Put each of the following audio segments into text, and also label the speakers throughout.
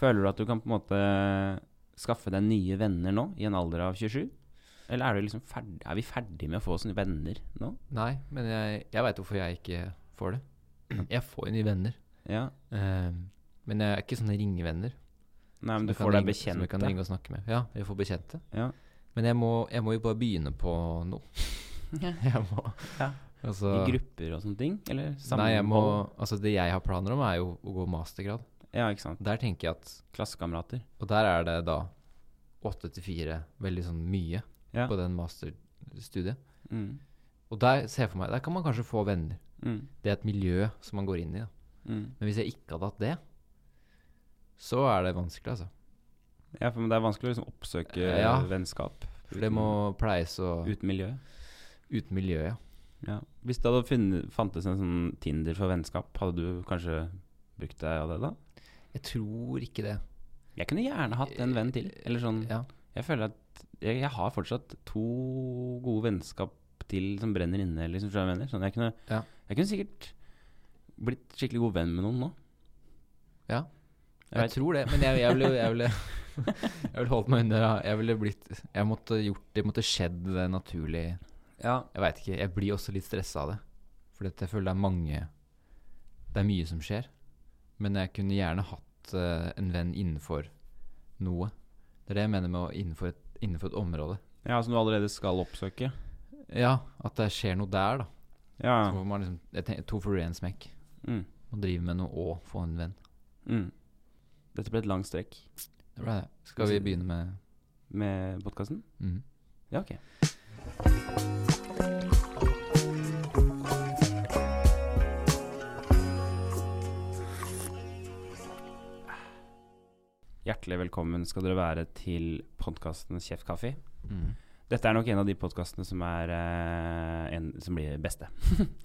Speaker 1: Føler du at du kan på en måte skaffe deg nye venner nå, i en alder av 27? Eller er, du liksom ferdig, er vi ferdig med å få oss nye venner nå?
Speaker 2: Nei, men jeg, jeg veit hvorfor jeg ikke får det. Jeg får jo nye venner.
Speaker 1: Ja.
Speaker 2: Eh, men jeg er ikke sånne ringevenner.
Speaker 1: Nei,
Speaker 2: som
Speaker 1: men du
Speaker 2: jeg kan
Speaker 1: får deg
Speaker 2: ringe- Som jeg kan
Speaker 1: bekjente.
Speaker 2: ringe og snakke med. Ja, jeg får bekjente.
Speaker 1: Ja.
Speaker 2: Men jeg må, jeg må jo bare begynne på noe. jeg må
Speaker 1: Ja.
Speaker 2: altså,
Speaker 1: I grupper og sånne ting? Eller sammen?
Speaker 2: Nei, jeg må Altså, det jeg har planer om, er jo å gå mastergrad.
Speaker 1: Ja, ikke sant.
Speaker 2: Der tenker jeg at
Speaker 1: Klassekamerater.
Speaker 2: Og der er det da åtte til fire, veldig sånn mye,
Speaker 1: Ja.
Speaker 2: på den masterstudiet.
Speaker 1: Mm.
Speaker 2: Og der ser jeg for meg Der kan man kanskje få venner.
Speaker 1: Mm.
Speaker 2: Det er et miljø som man går inn i. Da.
Speaker 1: Mm.
Speaker 2: Men hvis jeg ikke hadde hatt det, så er det vanskelig, altså.
Speaker 1: Ja, for men det er vanskelig å liksom oppsøke
Speaker 2: Ja.
Speaker 1: vennskap
Speaker 2: For det må pleies og
Speaker 1: uten miljø.
Speaker 2: Uten miljø, ja.
Speaker 1: Ja. Hvis det hadde funnet, fantes en sånn Tinder for vennskap, hadde du kanskje brukt deg av det da?
Speaker 2: Jeg tror ikke det.
Speaker 1: Jeg kunne gjerne hatt en venn til. Eller sånn
Speaker 2: Ja.
Speaker 1: Jeg føler at jeg, jeg har fortsatt to gode vennskap til som brenner inne, liksom, skjønner du hva jeg mener. Sånn, jeg, kunne,
Speaker 2: Ja.
Speaker 1: jeg kunne sikkert blitt skikkelig god venn med noen nå.
Speaker 2: Ja.
Speaker 1: Jeg
Speaker 2: Jeg,
Speaker 1: vet-
Speaker 2: tror det, men jeg, jeg ville Jeg ville jeg ville holdt meg under Jeg ville blitt Jeg måtte gjort Det måtte skjedd eh, naturlig Jeg
Speaker 1: Ja.
Speaker 2: veit ikke. Jeg blir også litt stressa av det. For jeg føler det er mange Det er mye som skjer. Men jeg kunne gjerne hatt eh, en venn innenfor noe. Det er det jeg mener med å innenfor et, innenfor et område.
Speaker 1: ja, som du allerede skal oppsøke.
Speaker 2: Ja, at det skjer noe der, da.
Speaker 1: Ja.
Speaker 2: Så får man liksom jeg tenker, To fluer i én smekk.
Speaker 1: Mm.
Speaker 2: Man driver med noe og få en venn.
Speaker 1: Mm. Dette ble et langt strekk
Speaker 2: Det ble det. Skal vi begynne med
Speaker 1: med podkasten.
Speaker 2: Mhm.
Speaker 1: Ja, ok. Hjertelig velkommen skal dere være til podkasten Kjeftkaffe. Mm.
Speaker 2: Mhm.
Speaker 1: Dette er nok en av de podkastene som, er, eh, en- som blir beste,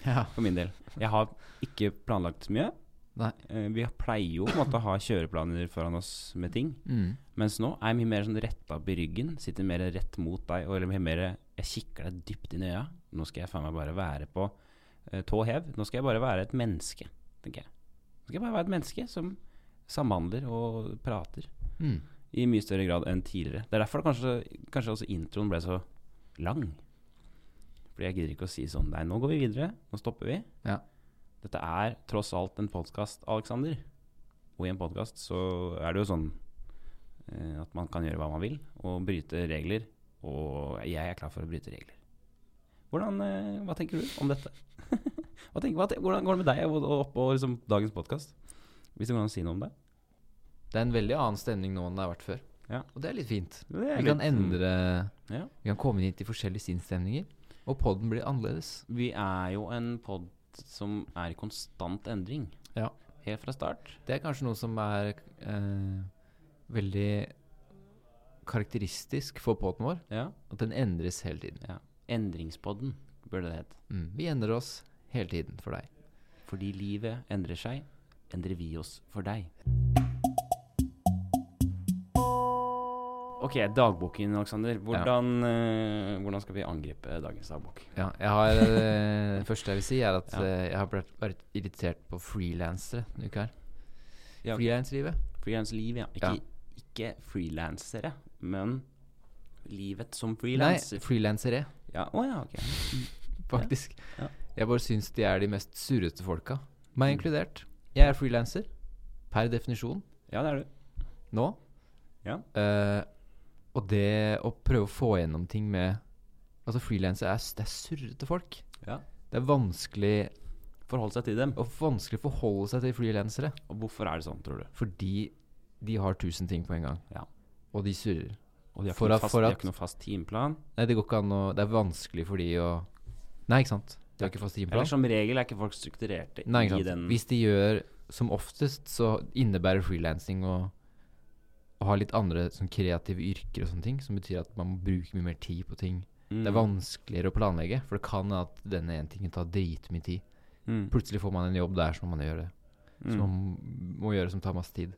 Speaker 2: Ja.
Speaker 1: for min del. Jeg har ikke planlagt så mye.
Speaker 2: Nei.
Speaker 1: Eh, Vi pleier jo på en måte å ha kjøreplaner foran oss med ting.
Speaker 2: Mhm.
Speaker 1: Mens nå er jeg mye mer sånn retta opp i ryggen, sitter mer rett mot deg, og eller mye mer Jeg kikker deg dypt inn i øya. Nå skal jeg faen meg bare være på eh, tå hev. Nå skal jeg bare være et menneske, tenker jeg. Nå skal jeg bare være et menneske som samhandler og prater
Speaker 2: Mhm.
Speaker 1: i mye større grad enn tidligere. Det er derfor det kanskje, kanskje også introen ble så lang. Fordi jeg gidder ikke å si sånn Nei, nå går vi videre. Nå stopper vi.
Speaker 2: Ja.
Speaker 1: Dette er tross alt en podkast, Aleksander. Og i en podkast så er det jo sånn eh, at man kan gjøre hva man vil, og bryte regler. Og jeg er klar for å bryte regler. Hvordan, eh, Hva tenker du om dette? hva tenker, hva, te- hvordan går det med deg og, og, opp- og liksom dagens podkast? Hvis det går an å si noe om det?
Speaker 2: Det er en veldig annen stemning nå enn det har vært før.
Speaker 1: Ja.
Speaker 2: Og det er litt fint.
Speaker 1: det er
Speaker 2: Vi kan
Speaker 1: litt-
Speaker 2: endre
Speaker 1: Ja.
Speaker 2: Vi kan komme hit i forskjellige sinnsstemninger, og podden blir annerledes.
Speaker 1: Vi er jo en pod som er i konstant endring.
Speaker 2: Ja.
Speaker 1: Helt fra start.
Speaker 2: Det er kanskje noe som er eh, veldig karakteristisk for podden vår,
Speaker 1: Ja.
Speaker 2: at den endres hele tiden.
Speaker 1: Endringspodden, burde det hete.
Speaker 2: Mm. Vi endrer oss hele tiden for deg.
Speaker 1: Fordi livet endrer seg, endrer vi oss for deg. Ok, dagboken, Aleksander. Hvordan, eh, hvordan skal vi angripe dagens dagbok?
Speaker 2: Ja, jeg har, eh, det første jeg vil si, er at
Speaker 1: Ja.
Speaker 2: eh, jeg har blitt vært irritert på frilansere denne uka her.
Speaker 1: Ja, ok.
Speaker 2: Frilanslivet.
Speaker 1: Frilansliv, ja. Ikke,
Speaker 2: Ja.
Speaker 1: ikke frilansere, men livet som
Speaker 2: Nei,
Speaker 1: frilanser.
Speaker 2: frilansere,
Speaker 1: Ja. Å ja, ok.
Speaker 2: faktisk.
Speaker 1: Ja. Mm.
Speaker 2: Jeg bare syns de er de mest surrete folka. Meg inkludert. Jeg er frilanser per definisjon
Speaker 1: Ja, det er du.
Speaker 2: nå.
Speaker 1: Ja.
Speaker 2: Eh, og det å prøve å få gjennom ting med Altså, frilansere er, det er surrete folk.
Speaker 1: Ja.
Speaker 2: Det er vanskelig
Speaker 1: Forhold seg til dem.
Speaker 2: og vanskelig å forholde seg til frilansere
Speaker 1: Og hvorfor er det sånn, tror du?
Speaker 2: fordi de har tusen ting på en gang,
Speaker 1: Ja.
Speaker 2: og de surrer.
Speaker 1: Og de har,
Speaker 2: For
Speaker 1: ikke, noe
Speaker 2: at-
Speaker 1: fast,
Speaker 2: for
Speaker 1: de har
Speaker 2: at-
Speaker 1: ikke noe fast timeplan.
Speaker 2: Nei, det går ikke an å Det er vanskelig for de å Nei, ikke sant? De har ikke fast
Speaker 1: Eller
Speaker 2: timeplan.
Speaker 1: som regel er ikke folk strukturerte
Speaker 2: Nei, ikke
Speaker 1: i den
Speaker 2: sant. Hvis de gjør som oftest, så innebærer frilansing å, å ha litt andre sånn, kreative yrker og sånne ting, som betyr at man må bruke mye mer tid på ting. Det
Speaker 1: Mm.
Speaker 2: er vanskeligere å planlegge, for det kan at denne ene tingen tar dritmye tid.
Speaker 1: Mm.
Speaker 2: Plutselig får man en jobb der som man gjør det.
Speaker 1: Mm.
Speaker 2: Som man må gjøre som tar masse tid.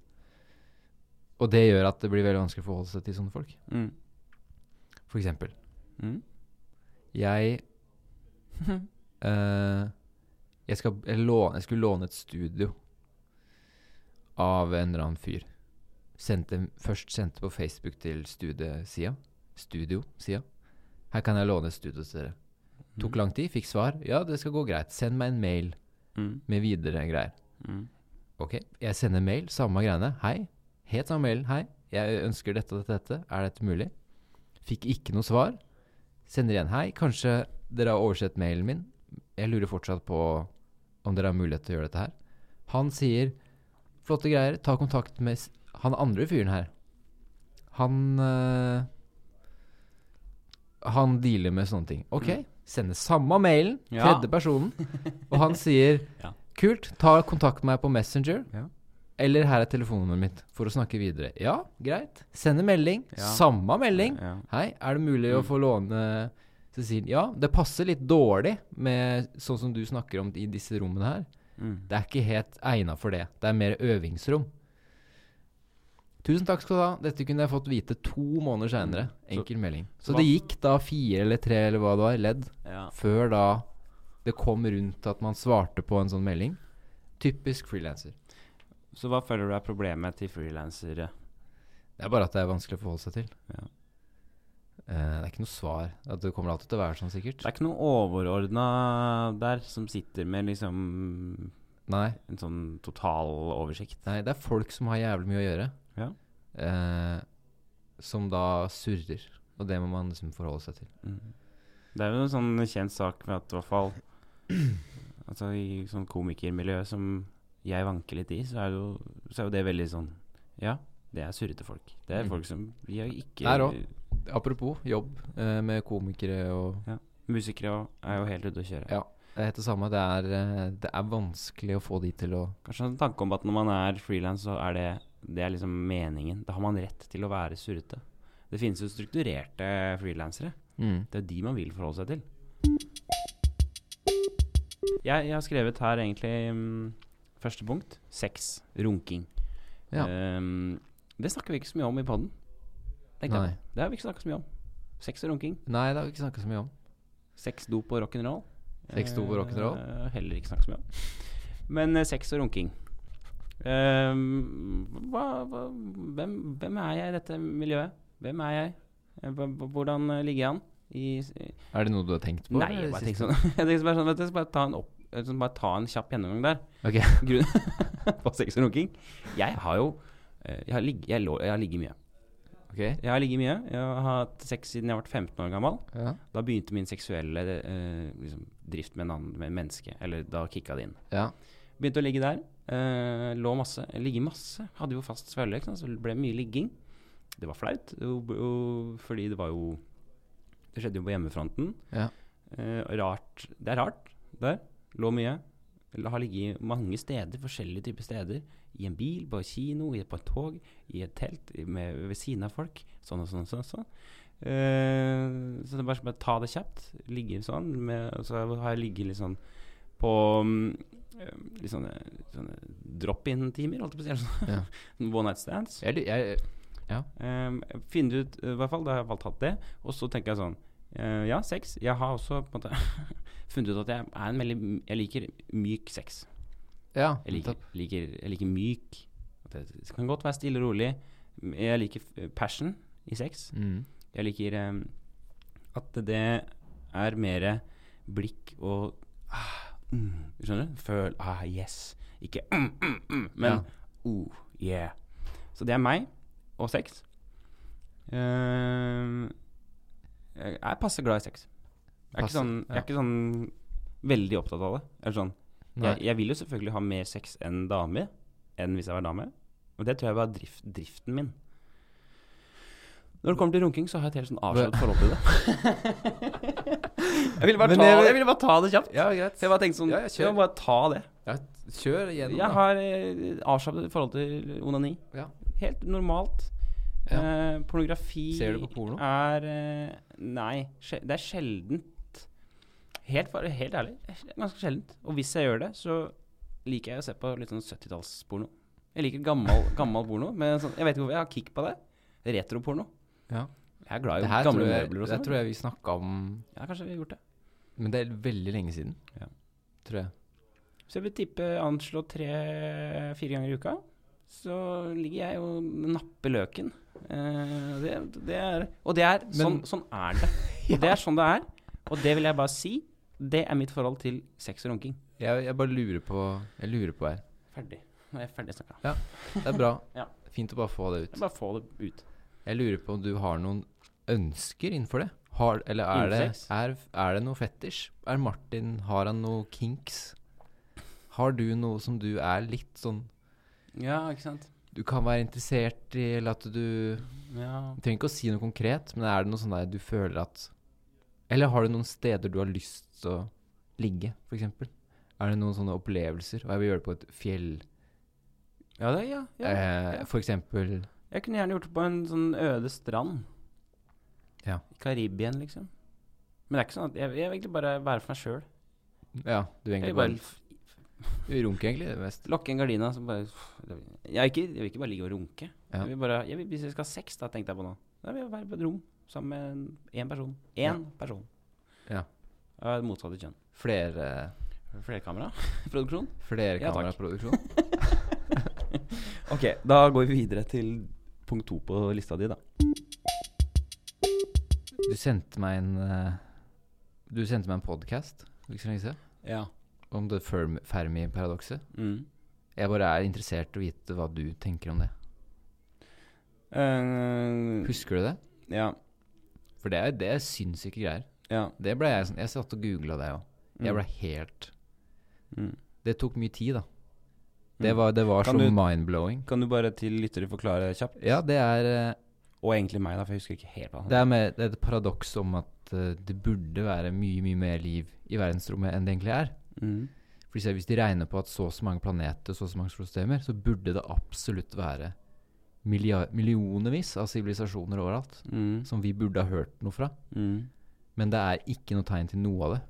Speaker 2: Og det gjør at det blir veldig vanskelig å forholde seg til sånne folk.
Speaker 1: Mm.
Speaker 2: For eksempel,
Speaker 1: Mm.
Speaker 2: jeg eh, jeg, skal, jeg, låne, jeg skulle låne et studio av en eller annen fyr. sendte, først sendte på Facebook til studiesida. Studio-sida. Her kan jeg låne et studio til dere. Tok lang tid, fikk svar. Ja, det skal gå greit. Send meg en mail
Speaker 1: Mm,
Speaker 2: med videre greier.
Speaker 1: mm,
Speaker 2: Ok, jeg sender mail, samme greiene. Hei. Helt samme mailen. Hei, jeg ønsker dette og dette, dette. Er dette mulig? Fikk ikke noe svar. Sender igjen. Hei, kanskje dere har oversett mailen min. Jeg lurer fortsatt på om dere har mulighet til å gjøre dette her. Han sier flotte greier, ta kontakt med s- han andre fyren her. Han øh, Han dealer med sånne ting. Ok, sender samme mailen,
Speaker 1: Ja.
Speaker 2: tredje personen, og han sier
Speaker 1: Ja.
Speaker 2: Kult, ta kontakt med meg på Messenger.
Speaker 1: Ja.
Speaker 2: Eller her er telefonnummeret mitt, for å snakke videre. Ja, greit. Send en melding.
Speaker 1: Ja.
Speaker 2: Samme melding.
Speaker 1: ja. Mm.
Speaker 2: Hei, er det mulig å få låne Cecilie? Ja, det passer litt dårlig med sånn som du snakker om i disse rommene her.
Speaker 1: Mm.
Speaker 2: Det er ikke helt egna for det. Det er mer øvingsrom. Tusen takk skal du ha. Dette kunne jeg fått vite to måneder seinere.
Speaker 1: Mm. Så-
Speaker 2: Enkel melding.
Speaker 1: så
Speaker 2: Så
Speaker 1: hva-
Speaker 2: det gikk da fire eller tre eller hva det var, ledd
Speaker 1: Ja.
Speaker 2: før da det kom rundt at man svarte på en sånn melding. Typisk frilanser.
Speaker 1: Så hva føler du er problemet til frilansere?
Speaker 2: Det er bare at det er vanskelig å forholde seg til.
Speaker 1: Ja.
Speaker 2: Eh, det er ikke noe svar. At det kommer alltid til å være sånn, sikkert.
Speaker 1: Det er ikke noe overordna der som sitter med liksom
Speaker 2: Nei.
Speaker 1: en sånn total oversikt.
Speaker 2: Nei, det er folk som har jævlig mye å gjøre.
Speaker 1: Ja.
Speaker 2: Eh, som da surrer. Og det må man liksom forholde seg til.
Speaker 1: Mm. Det er jo en sånn kjent sak med at i hvert fall altså i sånn komikermiljø som jeg vanker litt i, så er, jo, så er jo det veldig sånn Ja, det er surrete folk. Det er
Speaker 2: Mm.
Speaker 1: folk som vi er ikke
Speaker 2: Der også. Apropos jobb eh, med komikere og
Speaker 1: Musikere også er jo helt ute å kjøre.
Speaker 2: Ja. Det er helt det samme. Det er, eh, det er vanskelig å få de til å
Speaker 1: Kanskje en tanke om at når man er frilans, så er det, det er liksom meningen. Da har man rett til å være surrete. Det finnes jo strukturerte frilansere. Det er de man vil forholde seg til. Jeg, jeg har skrevet her egentlig mm, første punkt. Sex. Runking.
Speaker 2: Ja.
Speaker 1: Ehm, det snakker vi ikke så mye om i poden.
Speaker 2: Nei.
Speaker 1: Det har vi ikke snakket så mye om. Sex og runking.
Speaker 2: Nei, det har vi ikke snakka så mye om.
Speaker 1: Sex, dop og rock'n'roll.
Speaker 2: Sex, dop og rock'n'roll.
Speaker 1: Eh, heller ikke snakket så mye om. Men eh, sex og runking. Ehm, hva, hva, hvem, hvem er jeg i dette miljøet? Hvem er jeg? Eh, hva- hva- Hvordan eh, ligger jeg an? I,
Speaker 2: Er det noe du har tenkt på?
Speaker 1: Nei, jeg bare tenker sånn Jeg tenker bare sånn, vet du, så bare ta en opp eh, sånn, bare ta en kjapp gjennomgang der.
Speaker 2: Ok.
Speaker 1: Grunn på sex og runking. Jeg har jo eh, Jeg har, ligg, jeg, lå, jeg har ligget mye. sånn.
Speaker 2: Ok.
Speaker 1: Jeg har ligget mye. Jeg har hatt sex siden jeg har vært 15 år gammel.
Speaker 2: Ja.
Speaker 1: Da begynte min seksuelle eh, liksom, drift med en annen med en menneske. Eller da kicka det inn.
Speaker 2: ja.
Speaker 1: Begynte å ligge der. eh, lå masse. Ligge masse. Hadde jo fast svelle, ikke sant, så det ble mye ligging. Det var flaut, jo- jo- fordi det var jo Det skjedde jo på hjemmefronten.
Speaker 2: Ja.
Speaker 1: Eh, rart. Det er rart der. Lå mye. La- Har ligget mange steder, forskjellige typer steder. I en bil, på kino, i- på et tog, i et telt, i- med, ved siden av folk. Sånn og sånn og sånn. og sånn. Eh, så det er bare, bare ta det kjapt. Ligge sånn. Med, og så har jeg ligget litt sånn på mm, eh, litt sånne, sånne drop-in-timer, holdt jeg på å si. eller sånn.
Speaker 2: Ja.
Speaker 1: One night stands.
Speaker 2: Jeg, jeg,
Speaker 1: Um, finne ut, eh, i hvert fall, da har jeg valgt hatt det. Og så tenker jeg sånn eh, Ja, sex. Jeg har også på en måte funnet ut at jeg er en veldig m- Jeg liker myk sex.
Speaker 2: ja.
Speaker 1: Jeg liker, liker, jeg liker myk. At Det det kan godt være stille og rolig. Jeg liker eh, passion i sex.
Speaker 2: Mm.
Speaker 1: Jeg liker eh, at det er mer blikk og ah, mm, Skjønner du? Føl ah, yes. Ikke mm, mm, mm, men
Speaker 2: Ja.
Speaker 1: oh, yeah. Så det er meg og sex. Eh, jeg er passe glad i sex. Jeg er, ikke
Speaker 2: Passe,
Speaker 1: sånn, jeg er ikke sånn veldig opptatt av det. Jeg, er sånn,
Speaker 2: Nei.
Speaker 1: jeg, jeg vil jo selvfølgelig ha mer sex enn dame, enn hvis jeg var dame. Og det tror jeg var drift, driften min. Når det kommer til runking, så har jeg et helt sånn avslørt forhold til det. jeg ville bare,
Speaker 2: Men
Speaker 1: ta,
Speaker 2: jeg-
Speaker 1: jeg ville bare ta det kjapt.
Speaker 2: Ja, greit.
Speaker 1: Så jeg bare tenkte sånn
Speaker 2: Ja, ja,
Speaker 1: jeg,
Speaker 2: kjør.
Speaker 1: må bare ta det.
Speaker 2: Kjør
Speaker 1: Jeg
Speaker 2: igjennom, da.
Speaker 1: har eh, avslappet forhold til onani.
Speaker 2: Ja.
Speaker 1: Helt normalt.
Speaker 2: Ja.
Speaker 1: Eh, pornografi
Speaker 2: Ser du på porno?
Speaker 1: er eh, Nei. sje- Det er sjeldent. Helt, fa- helt ærlig, ganske sjeldent. Og hvis jeg gjør det, så liker jeg å se på litt sånn 70-tallsporno. Jeg liker gammel, gammel porno. Men sånn, jeg vet ikke hvorfor jeg har kick på det. Retroporno.
Speaker 2: Ja.
Speaker 1: Jeg er glad
Speaker 2: Det
Speaker 1: i
Speaker 2: her
Speaker 1: gamle
Speaker 2: tror jeg,
Speaker 1: møbler og
Speaker 2: det her
Speaker 1: sånn.
Speaker 2: tror jeg vi snakka om
Speaker 1: Ja, kanskje vi har gjort det.
Speaker 2: Men det er veldig lenge siden.
Speaker 1: Ja.
Speaker 2: Tror jeg.
Speaker 1: Så jeg vil tippe anslå tre-fire ganger i uka. så ligger jeg og napper løken. Eh, det, det er, og det er sånn,
Speaker 2: Men-
Speaker 1: sånn er det. Det er sånn det er. Og det vil jeg bare si. Det er mitt forhold til sex og runking.
Speaker 2: Jeg, jeg bare lurer på Jeg lurer på her.
Speaker 1: Ferdig. Nå er jeg ferdig snakka.
Speaker 2: Det er bra.
Speaker 1: Ja.
Speaker 2: Fint å bare få det
Speaker 1: Jeg
Speaker 2: ut.
Speaker 1: bare få det ut.
Speaker 2: Jeg lurer på om du har noen ønsker innenfor det? Har, eller er det,
Speaker 1: Innenfor sex?
Speaker 2: er, er det noe fetisj? Er Martin Har han noe kinks? Har du noe som du er litt sånn
Speaker 1: Ja, ikke sant.
Speaker 2: Du kan være interessert i, eller at du
Speaker 1: Ja.
Speaker 2: Du trenger ikke å si noe konkret, men er det noe sånn der du føler at Eller har du noen steder du har lyst til å ligge, f.eks.? Er det noen sånne opplevelser? Og jeg vil gjøre det på et fjell.
Speaker 1: Ja, det, ja, ja.
Speaker 2: eh, for eksempel
Speaker 1: Jeg kunne gjerne gjort det på en sånn øde strand.
Speaker 2: Ja.
Speaker 1: I Karibien, liksom. Men det er ikke sånn at jeg, jeg vil egentlig bare være for meg sjøl.
Speaker 2: Ja, du
Speaker 1: Jeg
Speaker 2: egentlig
Speaker 1: vil bare
Speaker 2: bare Du runker egentlig det mest.
Speaker 1: Lokke en gardina så bare jeg, er ikke, jeg vil ikke bare ligge og runke.
Speaker 2: Ja.
Speaker 1: Jeg vil bare, jeg vil, hvis jeg skal ha sex, da, tenkte jeg på nå, da vil jeg være på et rom sammen med en- én person. Én
Speaker 2: Ja.
Speaker 1: person.
Speaker 2: Ja.
Speaker 1: Av det motsatte kjønn.
Speaker 2: Flere,
Speaker 1: Flerkameraproduksjon.
Speaker 2: flere
Speaker 1: Ja, takk.
Speaker 2: kameraproduksjon.
Speaker 1: Ok, da går vi videre til punkt to på lista di, da.
Speaker 2: Du sendte meg en eh, Du sendte meg en podkast ikke så lenge siden,
Speaker 1: Ja.
Speaker 2: om det Ferm- Fermi-paradokset.
Speaker 1: Mm.
Speaker 2: Jeg bare er interessert i å vite hva du tenker om det.
Speaker 1: Eh,
Speaker 2: Husker du det?
Speaker 1: ja.
Speaker 2: For det er, det er sinnssyke greier.
Speaker 1: Ja.
Speaker 2: Det ble jeg sånn Jeg satt og googla det òg. Jeg ble helt
Speaker 1: Mm.
Speaker 2: Det tok mye tid, da. Det var, det var så
Speaker 1: Kan du-
Speaker 2: mind-blowing.
Speaker 1: Kan du bare til lyttere forklare kjapt?
Speaker 2: Ja, det er eh,
Speaker 1: Og egentlig meg, da, for jeg husker ikke helt hva han
Speaker 2: Det er, med, det er et paradoks om at eh, det burde være mye, mye mer liv i verdensrommet enn det egentlig er.
Speaker 1: Mm.
Speaker 2: For hvis jeg- hvis de regner på at så og så mange planeter, så og så mange solsystemer, så burde det absolutt være milliard, millionervis av sivilisasjoner overalt
Speaker 1: Mm.
Speaker 2: som vi burde ha hørt noe fra.
Speaker 1: Mm.
Speaker 2: Men det er ikke noe tegn til noe av det.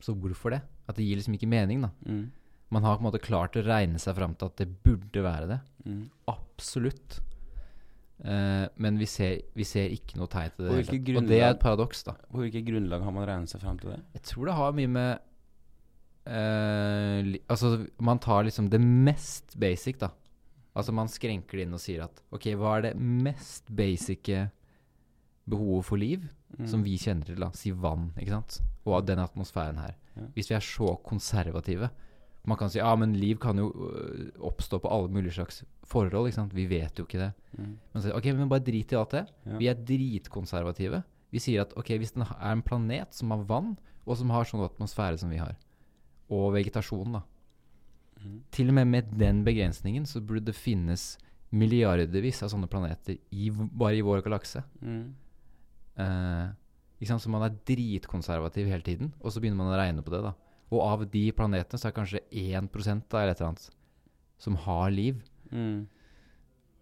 Speaker 2: Så hvorfor det? At det gir liksom ikke mening, da.
Speaker 1: Mm.
Speaker 2: Man har på en måte klart å regne seg fram til at det burde være det.
Speaker 1: Mm.
Speaker 2: Absolutt. Eh, men vi ser, vi ser ikke noe tegn til det.
Speaker 1: På
Speaker 2: hele
Speaker 1: hvilket
Speaker 2: tatt. og det er
Speaker 1: grunnlag?
Speaker 2: et paradoks, da.
Speaker 1: På hvilket grunnlag har man regnet seg fram til det?
Speaker 2: Jeg tror det har mye med eh, li, Altså, man tar liksom det mest basic, da. Altså, man skrenker det inn og sier at OK, hva er det mest basice behovet for liv
Speaker 1: Mm.
Speaker 2: som vi kjenner til, da? Si vann, ikke sant? Og av den atmosfæren her.
Speaker 1: Ja.
Speaker 2: Hvis vi er så konservative Man kan si ja, men liv kan jo øh, oppstå på alle mulige slags forhold, ikke sant? Vi vet jo ikke det.
Speaker 1: Mm.
Speaker 2: Man sier OK, men bare drit i alt det.
Speaker 1: Ja.
Speaker 2: Vi er dritkonservative. Vi sier at ok, hvis den ha- er en planet som har vann, og som har sånn atmosfære som vi har, og vegetasjon, da
Speaker 1: Mhm.
Speaker 2: Til og med med den begrensningen så burde det finnes milliardervis av sånne planeter i, v- bare i vår galakse.
Speaker 1: Mm.
Speaker 2: Eh, ikke sant? Så man er dritkonservativ hele tiden, og så begynner man å regne på det. da. Og av de planetene så er kanskje 1 da, eller et eller annet som har liv.
Speaker 1: Mm.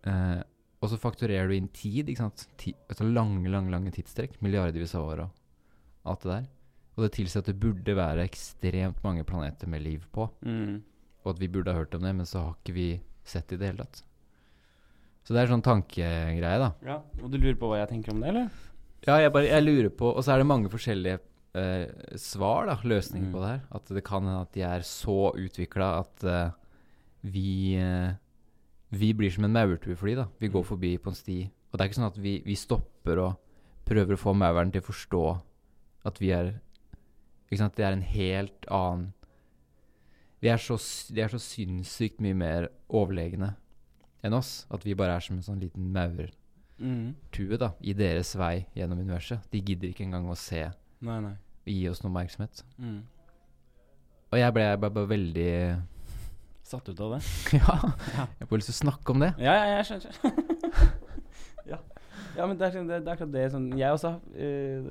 Speaker 2: Eh, og så fakturerer du inn tid, ikke sant? Ti, altså lange, lange, lange tidstrekk. Milliardvis av år og alt det der. Og det tilsier at det burde være ekstremt mange planeter med liv på.
Speaker 1: Mm.
Speaker 2: Og at vi burde ha hørt om det, men så har ikke vi sett det i det hele tatt. Så det er sånn tankegreie, da.
Speaker 1: Ja, og du lurer på hva jeg tenker om det, eller?
Speaker 2: Ja, jeg bare jeg lurer på Og så er det mange forskjellige eh, svar, da, løsninger
Speaker 1: Mm.
Speaker 2: på det her. At det kan hende at de er så utvikla at eh, vi eh, Vi blir som en maurtue fordi, da. Vi går forbi på en sti. Og det er ikke sånn at vi, vi stopper og prøver å få mauren til å forstå at vi er Ikke sant, det er en helt annen vi er, så, s- de er så sinnssykt mye mer overlegne enn oss. At vi bare er som en sånn liten maur
Speaker 1: Mm.
Speaker 2: tue da, i deres vei gjennom universet. De gidder ikke engang å se
Speaker 1: Nei, nei.
Speaker 2: og gi oss noe oppmerksomhet.
Speaker 1: Mm.
Speaker 2: Og jeg ble, jeg ble bare veldig
Speaker 1: Satt ut av det?
Speaker 2: Ja, jeg får lyst til å snakke om det.
Speaker 1: Ja, ja, jeg skjønner. ja. ja, men det er, sånn- det er akkurat det sånn Jeg også eh,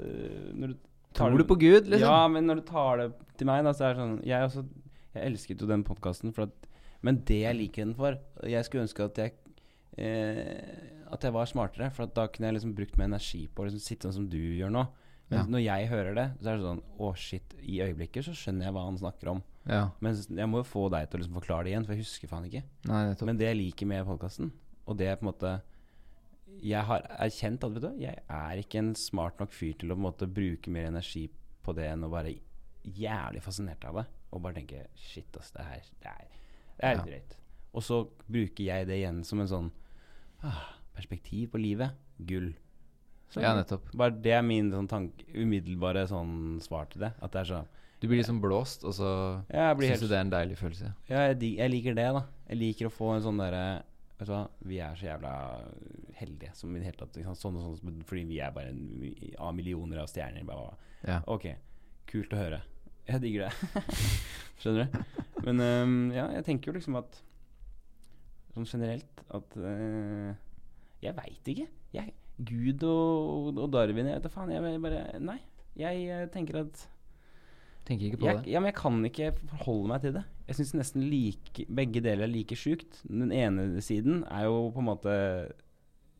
Speaker 1: Når du tar
Speaker 2: Tror du
Speaker 1: det-
Speaker 2: på Gud, liksom?
Speaker 1: Ja, men når du tar det til meg, da, så er det sånn Jeg også Jeg elsket jo den podkasten, men det jeg liker den for Jeg skulle ønske at jeg eh, At jeg var smartere, for at da kunne jeg liksom brukt mer energi på å liksom sitte sånn som du gjør nå. Men
Speaker 2: Ja.
Speaker 1: når jeg hører det, så er det sånn Å, shit. I øyeblikket så skjønner jeg hva han snakker om.
Speaker 2: Ja,
Speaker 1: Men jeg må jo få deg til å liksom forklare det igjen, for jeg husker faen ikke.
Speaker 2: Nei, nettopp.
Speaker 1: Men det jeg liker med podkasten, og det er på en måte Jeg har erkjent at vet du, jeg er ikke en smart nok fyr til å på en måte bruke mer energi på det enn å være jævlig fascinert av det. Og bare tenke Shit, ass, det her det er, det er
Speaker 2: Ja.
Speaker 1: drøyt. Og så bruker jeg det igjen som en sånn ah, perspektiv på livet. Gull. Så
Speaker 2: Ja, nettopp.
Speaker 1: bare det er min sånn tank, umiddelbare sånn svar til det. At det er sånn
Speaker 2: Du blir liksom blåst, og så
Speaker 1: ja, jeg, blir
Speaker 2: syns
Speaker 1: helt,
Speaker 2: du det er en deilig følelse.
Speaker 1: ja, jeg, dig- jeg liker det, da. Jeg liker å få en sånn derre Vet du hva, vi er så jævla heldige som i det hele tatt. Ikke sant? Sånn og sånn, fordi vi er bare en, av millioner av stjerner. Bla, bla, bla.
Speaker 2: Ja.
Speaker 1: Ok, kult å høre. Jeg digger det. Skjønner du? Men øhm, ja, jeg tenker jo liksom at sånn generelt at øh, Jeg veit ikke. Jeg, Gud og, og Darwin Jeg vet da faen. Jeg bare Nei. Jeg eh, tenker at
Speaker 2: Tenker ikke på
Speaker 1: jeg, ja, men jeg kan ikke forholde meg til det. Jeg syns nesten like, begge deler er like sjukt. Den ene siden er jo på en måte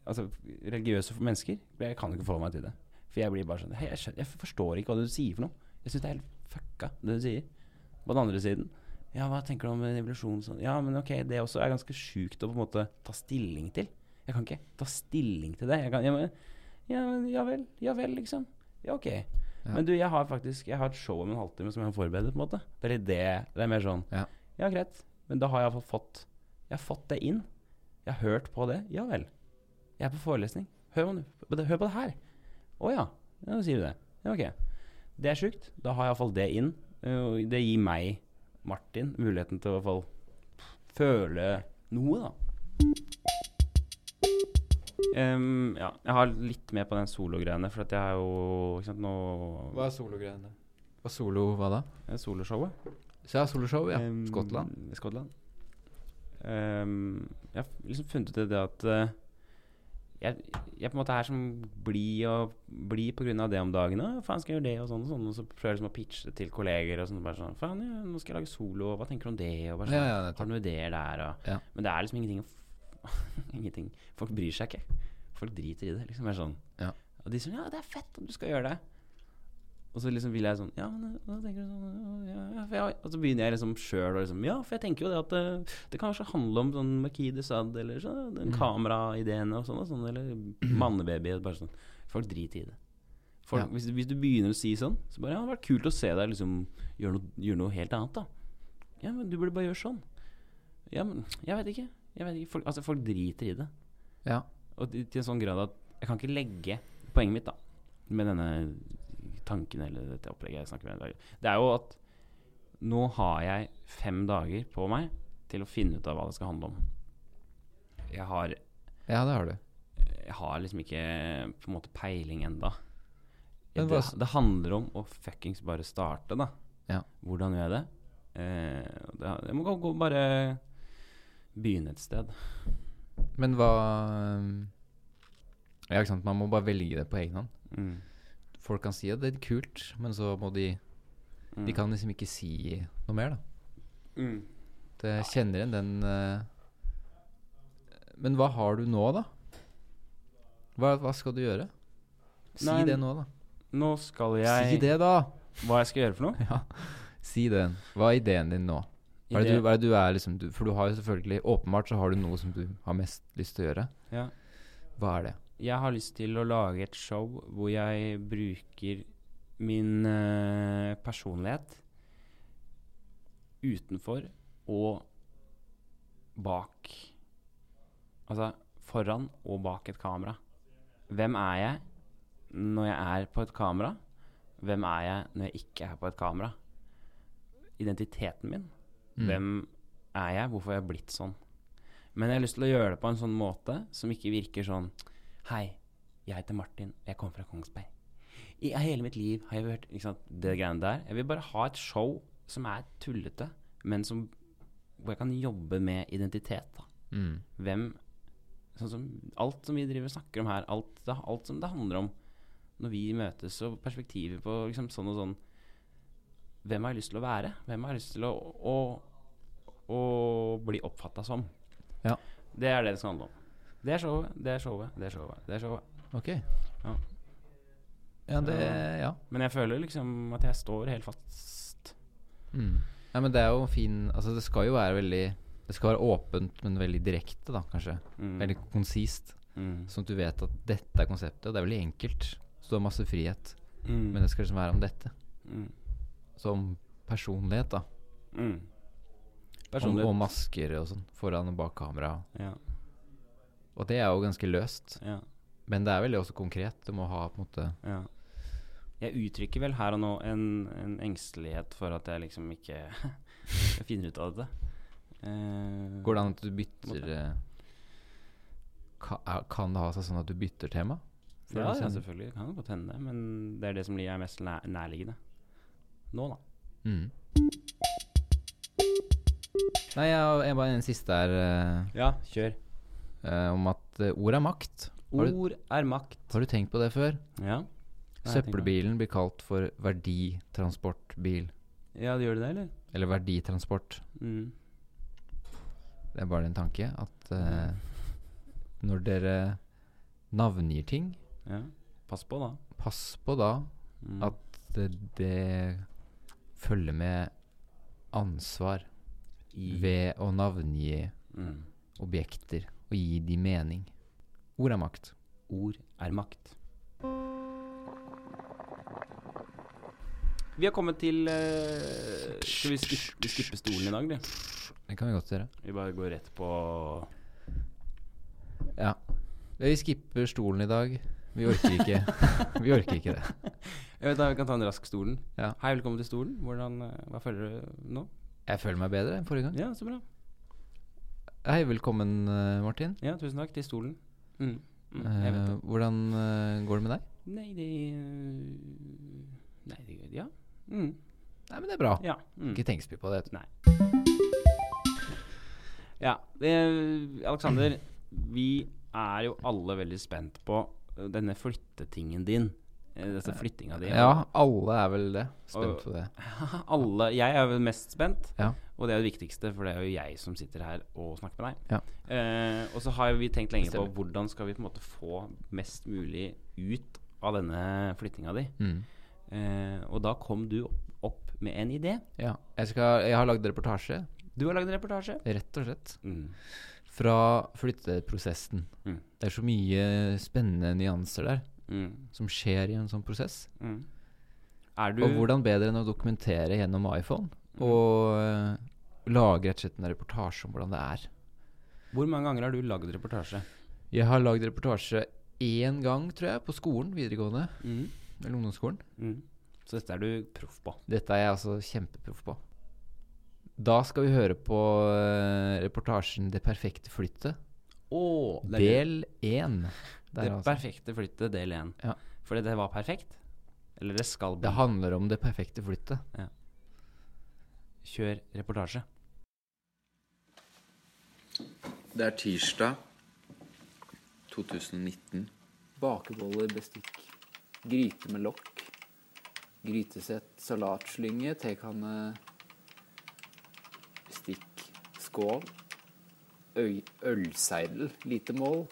Speaker 1: Altså, religiøse for mennesker. men Jeg kan ikke forholde meg til det. For jeg blir bare sånn «Hei, jeg, skjønner, jeg forstår ikke hva du sier for noe. Jeg syns det er helt fucka, det du sier. På den andre siden Ja, hva tenker du om revolusjon? Sånn. Ja, men ok, det også er ganske sjukt å på en måte ta stilling til. Jeg kan ikke ta stilling til det. Jeg kan, ja, men, ja, men, ja vel, ja vel, liksom. Ja, ok. Men du, jeg har faktisk Jeg har et show om en halvtime som jeg har forberedt, på en måte. Det er litt det Det er mer sånn
Speaker 2: Ja.
Speaker 1: greit. Men da har jeg i hvert fall fått Jeg har fått det inn. Jeg har hørt på det. Ja vel. Jeg er på forelesning. Hør, om- på det- hør på det her. Å ja. Ja, Da sier vi det. Ja, ok. Det er sjukt. Da har jeg iallfall det inn. og Det gir meg, Martin, muligheten til å i hvert fall føle noe, da. Ehm, ja, jeg har litt mer på den sologreiene, for at jeg er jo ikke sant, nå
Speaker 2: Hva er sologreiene? Hva solo, hva da?
Speaker 1: Eh, Soloshowet.
Speaker 2: Så ja, soloshow, ja.
Speaker 1: Ehm,
Speaker 2: Skottland.
Speaker 1: Skottland. Ehm, jeg har f- liksom funnet ut det, det at eh, jeg, jeg på en måte er som blid og blid pga. det om dagen. «Å, 'Faen, skal jeg gjøre det?' og sånn og sånn. Og så prøver jeg liksom å pitche det til kolleger. Og sånn, bare sånn 'Faen, ja, nå skal jeg lage solo. og Hva tenker du om det?' Og bare sånn,
Speaker 2: Ja, ja,
Speaker 1: Har
Speaker 2: nettopp.
Speaker 1: du noen ideer der? Og,
Speaker 2: Ja.
Speaker 1: Men det er liksom ingenting, å f- ingenting Folk bryr seg ikke. Folk driter i det. liksom er sånn
Speaker 2: Ja.
Speaker 1: Og de sier sånn, 'ja, det er fett om du skal gjøre det'. Og så liksom vil jeg sånn Ja, men eh, hva tenker du sånn ja, ja, for jeg, Og så begynner jeg liksom sjøl å liksom Ja, for jeg tenker jo det at eh, det kanskje handler om sånn Makide Sad eller sånn
Speaker 2: Mm.
Speaker 1: den kameraideene og sånn og sånn, eller mannebaby og bare sånn. Folk driter i det. Folk,
Speaker 2: Ja.
Speaker 1: hvis, hvis du begynner å si sånn, så bare Ja, det hadde vært kult å se deg liksom gjøre noe, gjøre noe helt annet, da. Ja, men du burde bare gjøre sånn. Ja, men jeg vet ikke. Jeg vet ikke. Folk, altså, folk driter i det.
Speaker 2: Ja.
Speaker 1: Og til til en sånn grad at jeg kan ikke legge poenget mitt da med denne tanken eller dette opplegget jeg snakker om i dag. Det er jo at nå har jeg fem dager på meg til å finne ut av hva det skal handle om. Jeg har,
Speaker 2: ja, det har du.
Speaker 1: jeg har liksom ikke på en måte peiling enda. Det,
Speaker 2: Men hva-
Speaker 1: det handler om å fuckings bare starte, da.
Speaker 2: Ja.
Speaker 1: Hvordan gjør jeg det? Eh, det jeg må gå, gå bare begynne et sted.
Speaker 2: Men hva ehm, Ja, ikke sant. Man må bare velge det på egen hånd.
Speaker 1: Mm.
Speaker 2: Folk kan si at det er kult, men så må de De
Speaker 1: Mm.
Speaker 2: kan liksom ikke si noe mer, da.
Speaker 1: Mm.
Speaker 2: Det jeg kjenner igjen den eh, Men hva har du nå, da? Hva, hva skal du gjøre? Si
Speaker 1: Nei,
Speaker 2: det nå, da.
Speaker 1: Nå skal jeg
Speaker 2: Si det, da!
Speaker 1: Hva jeg skal gjøre for noe?
Speaker 2: Ja, si det. Hva er ideen din nå? Hva er det du, hva er, det du er liksom du, For du har jo selvfølgelig Åpenbart så har du noe som du har mest lyst til å gjøre.
Speaker 1: Ja.
Speaker 2: Hva er det?
Speaker 1: Jeg har lyst til å lage et show hvor jeg bruker min eh, personlighet utenfor og bak Altså foran og bak et kamera. Hvem er jeg når jeg er på et kamera? Hvem er jeg når jeg ikke er på et kamera? Identiteten min.
Speaker 2: Mm.
Speaker 1: Hvem er jeg? Hvorfor har jeg blitt sånn? Men jeg har lyst til å gjøre det på en sånn måte som ikke virker sånn Hei, jeg heter Martin, og jeg kommer fra Kongsberg. I hele mitt liv har jeg hørt ikke sant, det greiene der. Jeg vil bare ha et show som er tullete, men som, hvor jeg kan jobbe med identitet. da
Speaker 2: Mm.
Speaker 1: hvem sånn som Alt som vi driver og snakker om her, alt, det, alt som det handler om når vi møtes, og perspektivet på liksom, sånn og sånn Hvem har jeg lyst til å være? Hvem har jeg lyst til å, å, å bli oppfatta som?
Speaker 2: Ja.
Speaker 1: Det er det det skal handle om. Det er showet, det er showet, det er showet. Det er showet.
Speaker 2: Ok.
Speaker 1: Ja.
Speaker 2: Ja, det Ja.
Speaker 1: Men jeg føler liksom at jeg står helt fast.
Speaker 2: Mm. Nei, men det er jo fin Altså, det skal jo være veldig Det skal være åpent, men veldig direkte, da, kanskje.
Speaker 1: Mm.
Speaker 2: Veldig konsist.
Speaker 1: Mm.
Speaker 2: Sånn at du vet at dette er konseptet, og det er veldig enkelt. Så du har masse frihet.
Speaker 1: Mm.
Speaker 2: Men det skal liksom være om dette.
Speaker 1: Mm.
Speaker 2: Som personlighet, da.
Speaker 1: Mm.
Speaker 2: Og,
Speaker 1: Personlighet.
Speaker 2: og masker og sånn foran og bak kamera.
Speaker 1: Ja,
Speaker 2: Og det er jo ganske løst.
Speaker 1: ja,
Speaker 2: Men det er veldig også konkret. Du må ha på en måte
Speaker 1: ja. Jeg uttrykker vel her og nå en, en engstelighet for at jeg liksom ikke finner ut av dette. Eh,
Speaker 2: Går det an at du bytter eh, ka- er- Kan det ha seg sånn at du bytter tema? sånn? For
Speaker 1: Ja,
Speaker 2: å
Speaker 1: ja,
Speaker 2: sende-
Speaker 1: selvfølgelig. Det kan jo godt hende, det. Men det er det som ligger er mest nær nærliggende nå, da.
Speaker 2: Mm. Nei, jeg har jeg har bare en siste her eh,
Speaker 1: Ja, kjør.
Speaker 2: eh, om at eh, ord er makt. Har du-
Speaker 1: Ord er makt.
Speaker 2: Har du tenkt på det før?
Speaker 1: Ja. Nei, jeg tenker på det.
Speaker 2: Søppelbilen blir kalt for verditransportbil.
Speaker 1: Ja, det gjør det det, eller?
Speaker 2: Eller verditransport.
Speaker 1: Mm.
Speaker 2: Det er bare en tanke at eh, når dere navngir ting,
Speaker 1: Ja. Pass på, da.
Speaker 2: pass på da
Speaker 1: Mm.
Speaker 2: At- det, det følger med ansvar ved å navngi
Speaker 1: mm.
Speaker 2: objekter og gi de mening. Ord er makt.
Speaker 1: Ord er makt. Vi har kommet til eh, Skal vi skippe, skippe stolen i dag, eller?
Speaker 2: Det kan vi godt gjøre.
Speaker 1: Vi bare går rett på
Speaker 2: Ja. Vi skipper stolen i dag. Vi orker ikke, vi orker ikke det.
Speaker 1: Jeg vet da, Vi kan ta en rask stolen.
Speaker 2: Ja.
Speaker 1: Hei, velkommen til stolen. Hvordan, eh, hva føler du nå?
Speaker 2: Jeg føler meg bedre enn forrige gang.
Speaker 1: Ja, så bra.
Speaker 2: Hei, velkommen, eh, Martin.
Speaker 1: Ja, tusen takk til stolen. Mm. Mm, jeg vet
Speaker 2: Eh,
Speaker 1: det.
Speaker 2: hvordan eh, går det med deg?
Speaker 1: Nei, det eh, Nei, det Ja. Mm.
Speaker 2: Nei, men det er bra.
Speaker 1: Ja. Mm.
Speaker 2: Ikke tenk så mye på det.
Speaker 1: Ja, det, Alexander, vi er jo alle veldig spent på eh, denne flyttetingen din. Eh, Disse flyttinga di.
Speaker 2: Ja, alle er vel det. Spent
Speaker 1: Og-
Speaker 2: på det.
Speaker 1: Alle, jeg er jo mest spent,
Speaker 2: Ja.
Speaker 1: og det er jo det viktigste, for det er jo jeg som sitter her og snakker med deg.
Speaker 2: Ja.
Speaker 1: Eh, og så har vi tenkt lenge
Speaker 2: Det
Speaker 1: på
Speaker 2: stemmer.
Speaker 1: hvordan skal vi på en måte få mest mulig ut av denne flyttinga di.
Speaker 2: Mm.
Speaker 1: Eh, og da kom du opp, opp med en idé.
Speaker 2: Ja. Jeg, skal, jeg har lagd reportasje,
Speaker 1: Du har lagd en reportasje.
Speaker 2: rett og slett.
Speaker 1: Mm.
Speaker 2: fra flytteprosessen.
Speaker 1: Mm.
Speaker 2: Det er så mye spennende nyanser der
Speaker 1: Mm.
Speaker 2: som skjer i en sånn prosess.
Speaker 1: Mm. Er du
Speaker 2: Og hvordan bedre enn å dokumentere gjennom iPhone og eh, lage rett og slett en reportasje om hvordan det er.
Speaker 1: Hvor mange ganger har du lagd reportasje?
Speaker 2: Jeg har lagd reportasje én gang, tror jeg, på skolen videregående.
Speaker 1: Mm.
Speaker 2: Eller ungdomsskolen.
Speaker 1: Mm. Så dette er du proff på.
Speaker 2: Dette er jeg altså kjempeproff på. Da skal vi høre på eh, reportasjen 'Det perfekte flyttet',
Speaker 1: Oh,
Speaker 2: del én.
Speaker 1: det
Speaker 2: Der, altså.
Speaker 1: perfekte flyttet, del én.
Speaker 2: Ja.
Speaker 1: Fordi det var perfekt? Eller det skal bli?
Speaker 2: Det handler om det perfekte flyttet.
Speaker 1: Kjør reportasje.
Speaker 3: Det er tirsdag 2019.
Speaker 4: Bakeboller, bestikk, gryte med lokk, grytesett, salatslynge, tekanne, bestikk, skål, øy, ølseidel, lite mål,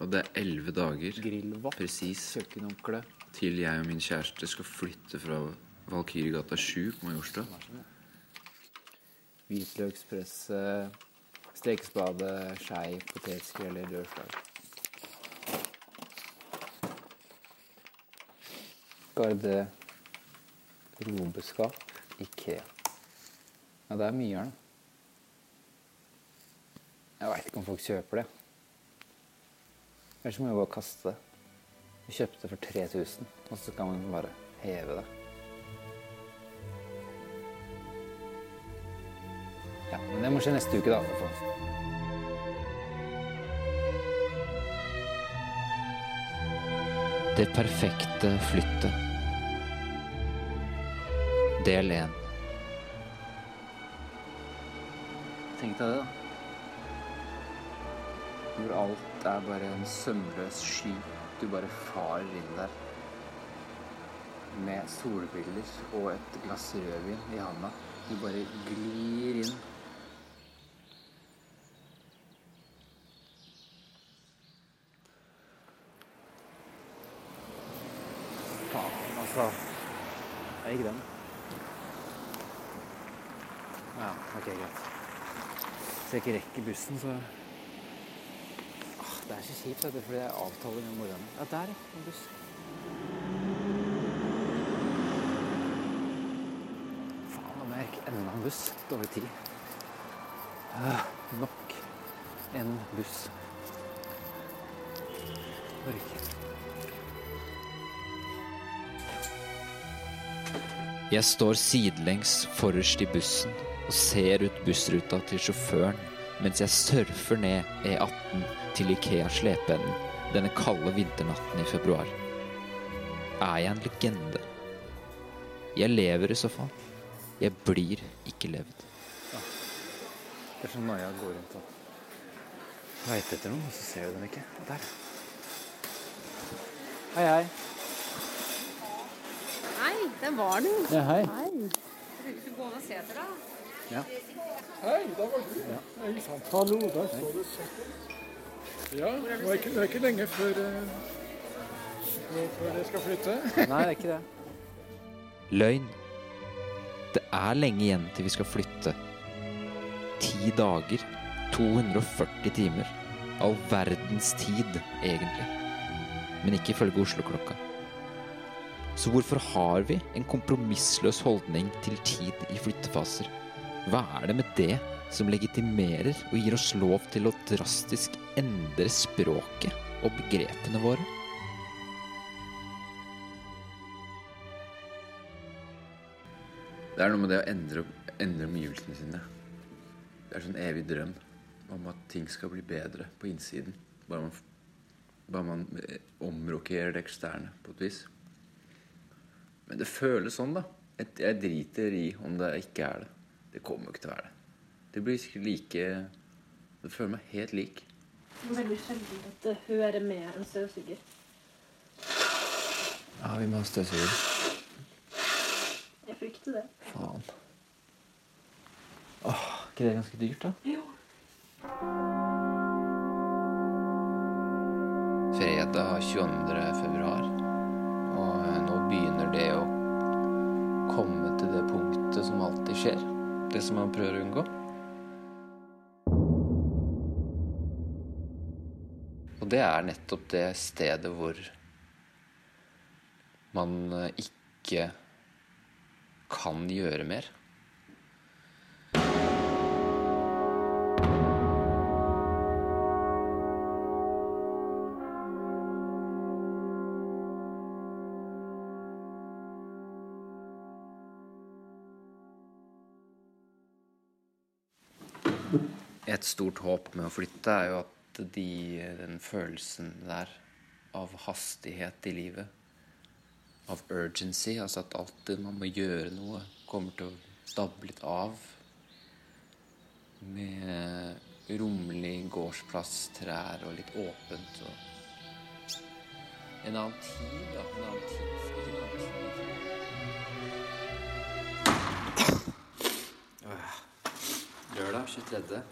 Speaker 3: Og det er elleve dager
Speaker 4: grillvatt,
Speaker 3: presis
Speaker 4: kjøkkenhåndkle.
Speaker 3: til jeg og min kjæreste skal flytte fra Valkyrjegata 7 på Majorstua.
Speaker 4: Hvitløkspresse, stekespade, skei, potetskreller, dørslag. Garde robeskap, Ikea. Ja, det er mye her, da. Jeg veit ikke om folk kjøper det. Ellers må jeg bare kaste det. Jeg kjøpte det for 3000, og så kan man bare heve det. Ja, men det må skje neste uke, da. for faen.
Speaker 2: Det perfekte flyttet. Del 1.
Speaker 4: Tenk deg det, da. Hvor alt er bare en sømløs sky. Du bare farer inn der. Med solbriller og et glass rødvin i handa. Du bare glir inn. Faen, altså. Jeg gikk den. Ja, ok, greit. Hvis jeg ikke rekker bussen, så ah, Det er så kjipt, vet du, fordi jeg avtaler med mora mi. Ja, der, ja. En buss. Faen, nå må jeg rekke enda en buss. Dårlig tid.
Speaker 5: Ah, Nok en buss. Orker.
Speaker 2: Jeg står sidelengs forrest i bussen og ser ut bussruta til sjåføren mens jeg surfer ned E18 til Ikea Slepeenden denne kalde vinternatten i februar. Er jeg en legende? Jeg lever i så fall. Jeg blir ikke levd.
Speaker 5: Det er sånn Maja går rundt og veit etter noe, og så ser du dem ikke. Og der. Hei, hei.
Speaker 6: Hei, der var du.
Speaker 5: Ja, hei.
Speaker 6: Du skulle gå og se etter deg.
Speaker 7: Hallo, der står du. Ja, det er ikke, det er ikke lenge før, eh, før jeg skal flytte.
Speaker 5: Nei, det er ikke det.
Speaker 2: Løgn. Det er lenge igjen til vi skal flytte. Ti dager. 240 timer. All verdens tid, egentlig. Men ikke ifølge Oslo-klokka. Så hvorfor har vi en kompromissløs holdning til tid i flyttefaser? Hva er det med det som legitimerer og gir oss lov til å drastisk endre språket og begrepene våre?
Speaker 3: Det er noe med det å endre, endre omgivelsene sine. Det er sånn evig drøm om at ting skal bli bedre på innsiden. Bare man, f- bare man eh, omrokerer det eksterne på et vis. Men det føles sånn, da. Et- Jeg driter i om det ikke er det. Det kommer jo ikke til å være det. Det blir sikkert like Det føler meg helt lik.
Speaker 8: Det er veldig sjelden at det hører med en støvsuger.
Speaker 3: Ja, vi må ha støvsuger.
Speaker 8: Jeg frykter det.
Speaker 3: Faen. Åh, ikke det ganske dyrt, da?
Speaker 2: fredag 22. februar. Og eh, nå begynner det å komme til det punktet som alltid skjer. Det som man prøver å unngå. Og det er nettopp det stedet hvor man eh, ikke kan gjøre mer. Et stort håp med å flytte er jo at de, den følelsen der av hastighet i livet, av urgency, altså at alltid man må gjøre noe, kommer til å stabbe litt av med rommelig gårdsplass, trær og litt åpent og En annen tid, da. En annen tid. En annen tid. Lørdag 23.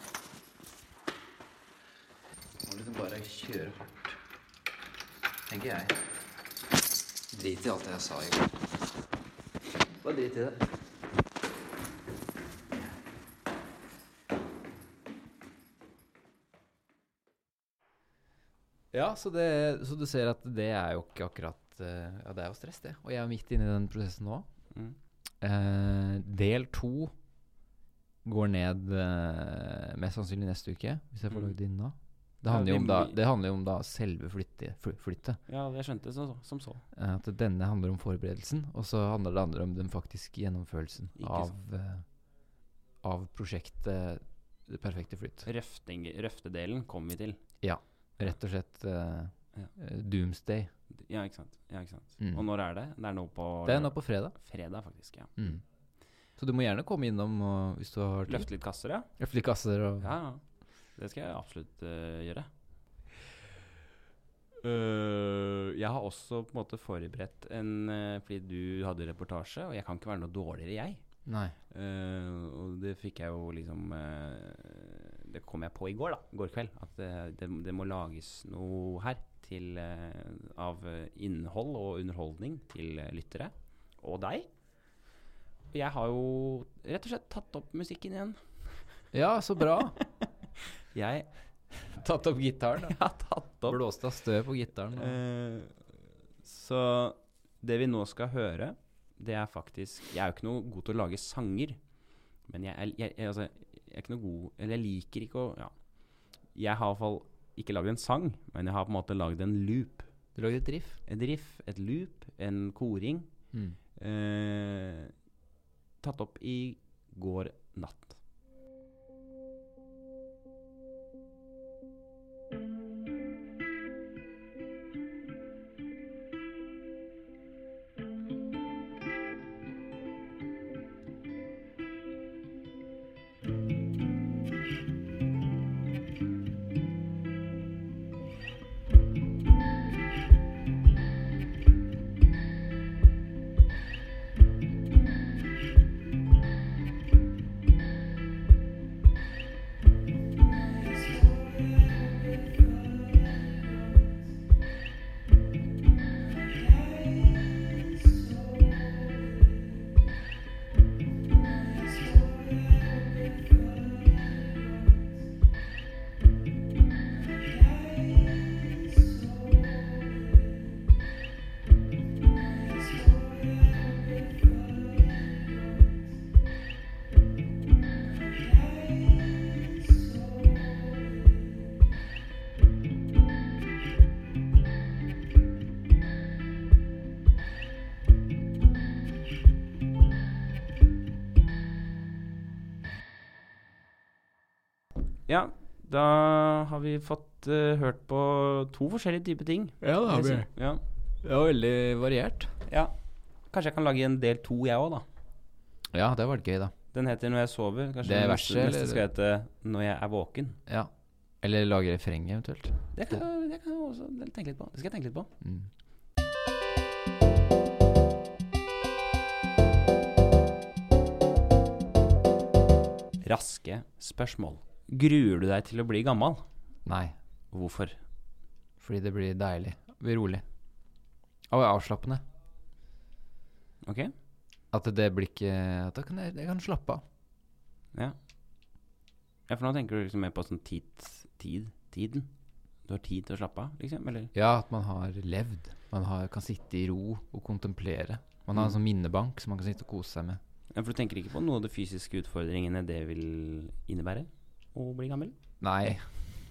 Speaker 2: Må liksom bare kjøre hardt. Tenker jeg. Drit i alt det jeg sa i går. Bare drit i det.
Speaker 9: Ja, så, det, så du ser at det er jo ikke akkurat eh, Ja, det er jo stress, det. Og jeg er midt inne i den prosessen nå.
Speaker 1: Mm.
Speaker 9: Eh, del to går ned eh, mest sannsynlig neste uke, hvis jeg får
Speaker 1: Mm.
Speaker 9: lagd det inn da. Det
Speaker 1: Ja,
Speaker 9: handler, jo
Speaker 1: vi
Speaker 9: om da,
Speaker 1: må-
Speaker 9: det handler jo om da selve flytte, fly, flyttet.
Speaker 1: Ja, jeg skjønte det så, som så.
Speaker 9: Eh, At denne handler om forberedelsen, og så handler det andre om den faktiske gjennomførelsen
Speaker 1: Ikke
Speaker 9: av, eh, av prosjektet Det perfekte flytt.
Speaker 1: Røfting, røftedelen kommer vi til.
Speaker 9: Rett og slett eh,
Speaker 1: Ja.
Speaker 9: eh, doomsday.
Speaker 1: Ja, ikke sant. Ja, ikke sant.
Speaker 9: Mm.
Speaker 1: Og når er det? Det er nå på
Speaker 9: Det er nå på fredag.
Speaker 1: fredag, faktisk. ja.
Speaker 9: Mm. Så du må gjerne komme innom og, hvis du har tid.
Speaker 1: Løfte litt kasser, ja.
Speaker 9: Løfte litt kasser og
Speaker 1: Ja, ja. Det skal jeg absolutt eh, gjøre. Øh, jeg har også på en måte forberedt en eh, Fordi du hadde reportasje, og jeg kan ikke være noe dårligere, jeg.
Speaker 9: Nei.
Speaker 1: Eh, og det fikk jeg jo liksom eh, Det kom jeg på i går, da. I går kveld. At det, det, det må lages noe her til, eh, av eh, innhold og underholdning til eh, lyttere. Og deg. Og Jeg har jo rett og slett tatt opp musikken igjen.
Speaker 9: Ja, så bra.
Speaker 1: Jeg
Speaker 9: Tatt opp gitaren. da.
Speaker 1: har tatt opp
Speaker 9: Blåste av støv på gitaren. og-
Speaker 1: Eh, Så det vi nå skal høre, det er faktisk Jeg er jo ikke noe god til å lage sanger, men jeg, er- jeg, jeg, altså, jeg er ikke noe god Eller jeg liker ikke å ja. Jeg har i hvert fall ikke lagd en sang, men jeg har på en måte lagd en loop.
Speaker 2: Du lagde et riff.
Speaker 1: Et riff, et loop, en koring.
Speaker 2: Mm.
Speaker 1: Eh, tatt opp i går natt. Ja, da har vi fått eh, hørt på to forskjellige typer ting.
Speaker 2: Ja, det
Speaker 1: vil jeg si. Ja.
Speaker 2: Det var veldig variert.
Speaker 1: ja. Kanskje jeg kan lage en del to, jeg òg, da.
Speaker 2: Ja, det har vært gøy, da.
Speaker 1: Den heter 'Når jeg sover'. Kanskje
Speaker 2: Det er
Speaker 1: den
Speaker 2: verset,
Speaker 1: neste, neste
Speaker 2: eller?
Speaker 1: skal hete 'Når jeg er våken'.
Speaker 2: Ja. Eller lage refrenget, eventuelt.
Speaker 1: Det kan, det kan jeg også tenke litt på. Det skal jeg tenke litt på.
Speaker 2: Mm.
Speaker 1: Raske spørsmål. Gruer du deg til å bli gammel?
Speaker 2: Nei,
Speaker 1: Hvorfor?
Speaker 2: fordi det blir deilig. Det blir rolig. Og avslappende.
Speaker 1: Ok?
Speaker 2: At det blir ikke At da kan jeg, jeg kan slappe av.
Speaker 1: Ja. ja, for nå tenker du liksom mer på sånn tid, tid tiden. Du har tid til å slappe av, liksom? Eller?
Speaker 2: Ja, at man har levd. Man har, kan sitte i ro og kontemplere. Man har en sånn minnebank som man kan sitte og kose seg med.
Speaker 1: Ja, for du tenker ikke på noe av de fysiske utfordringene det vil innebære å bli gammel?
Speaker 2: Nei,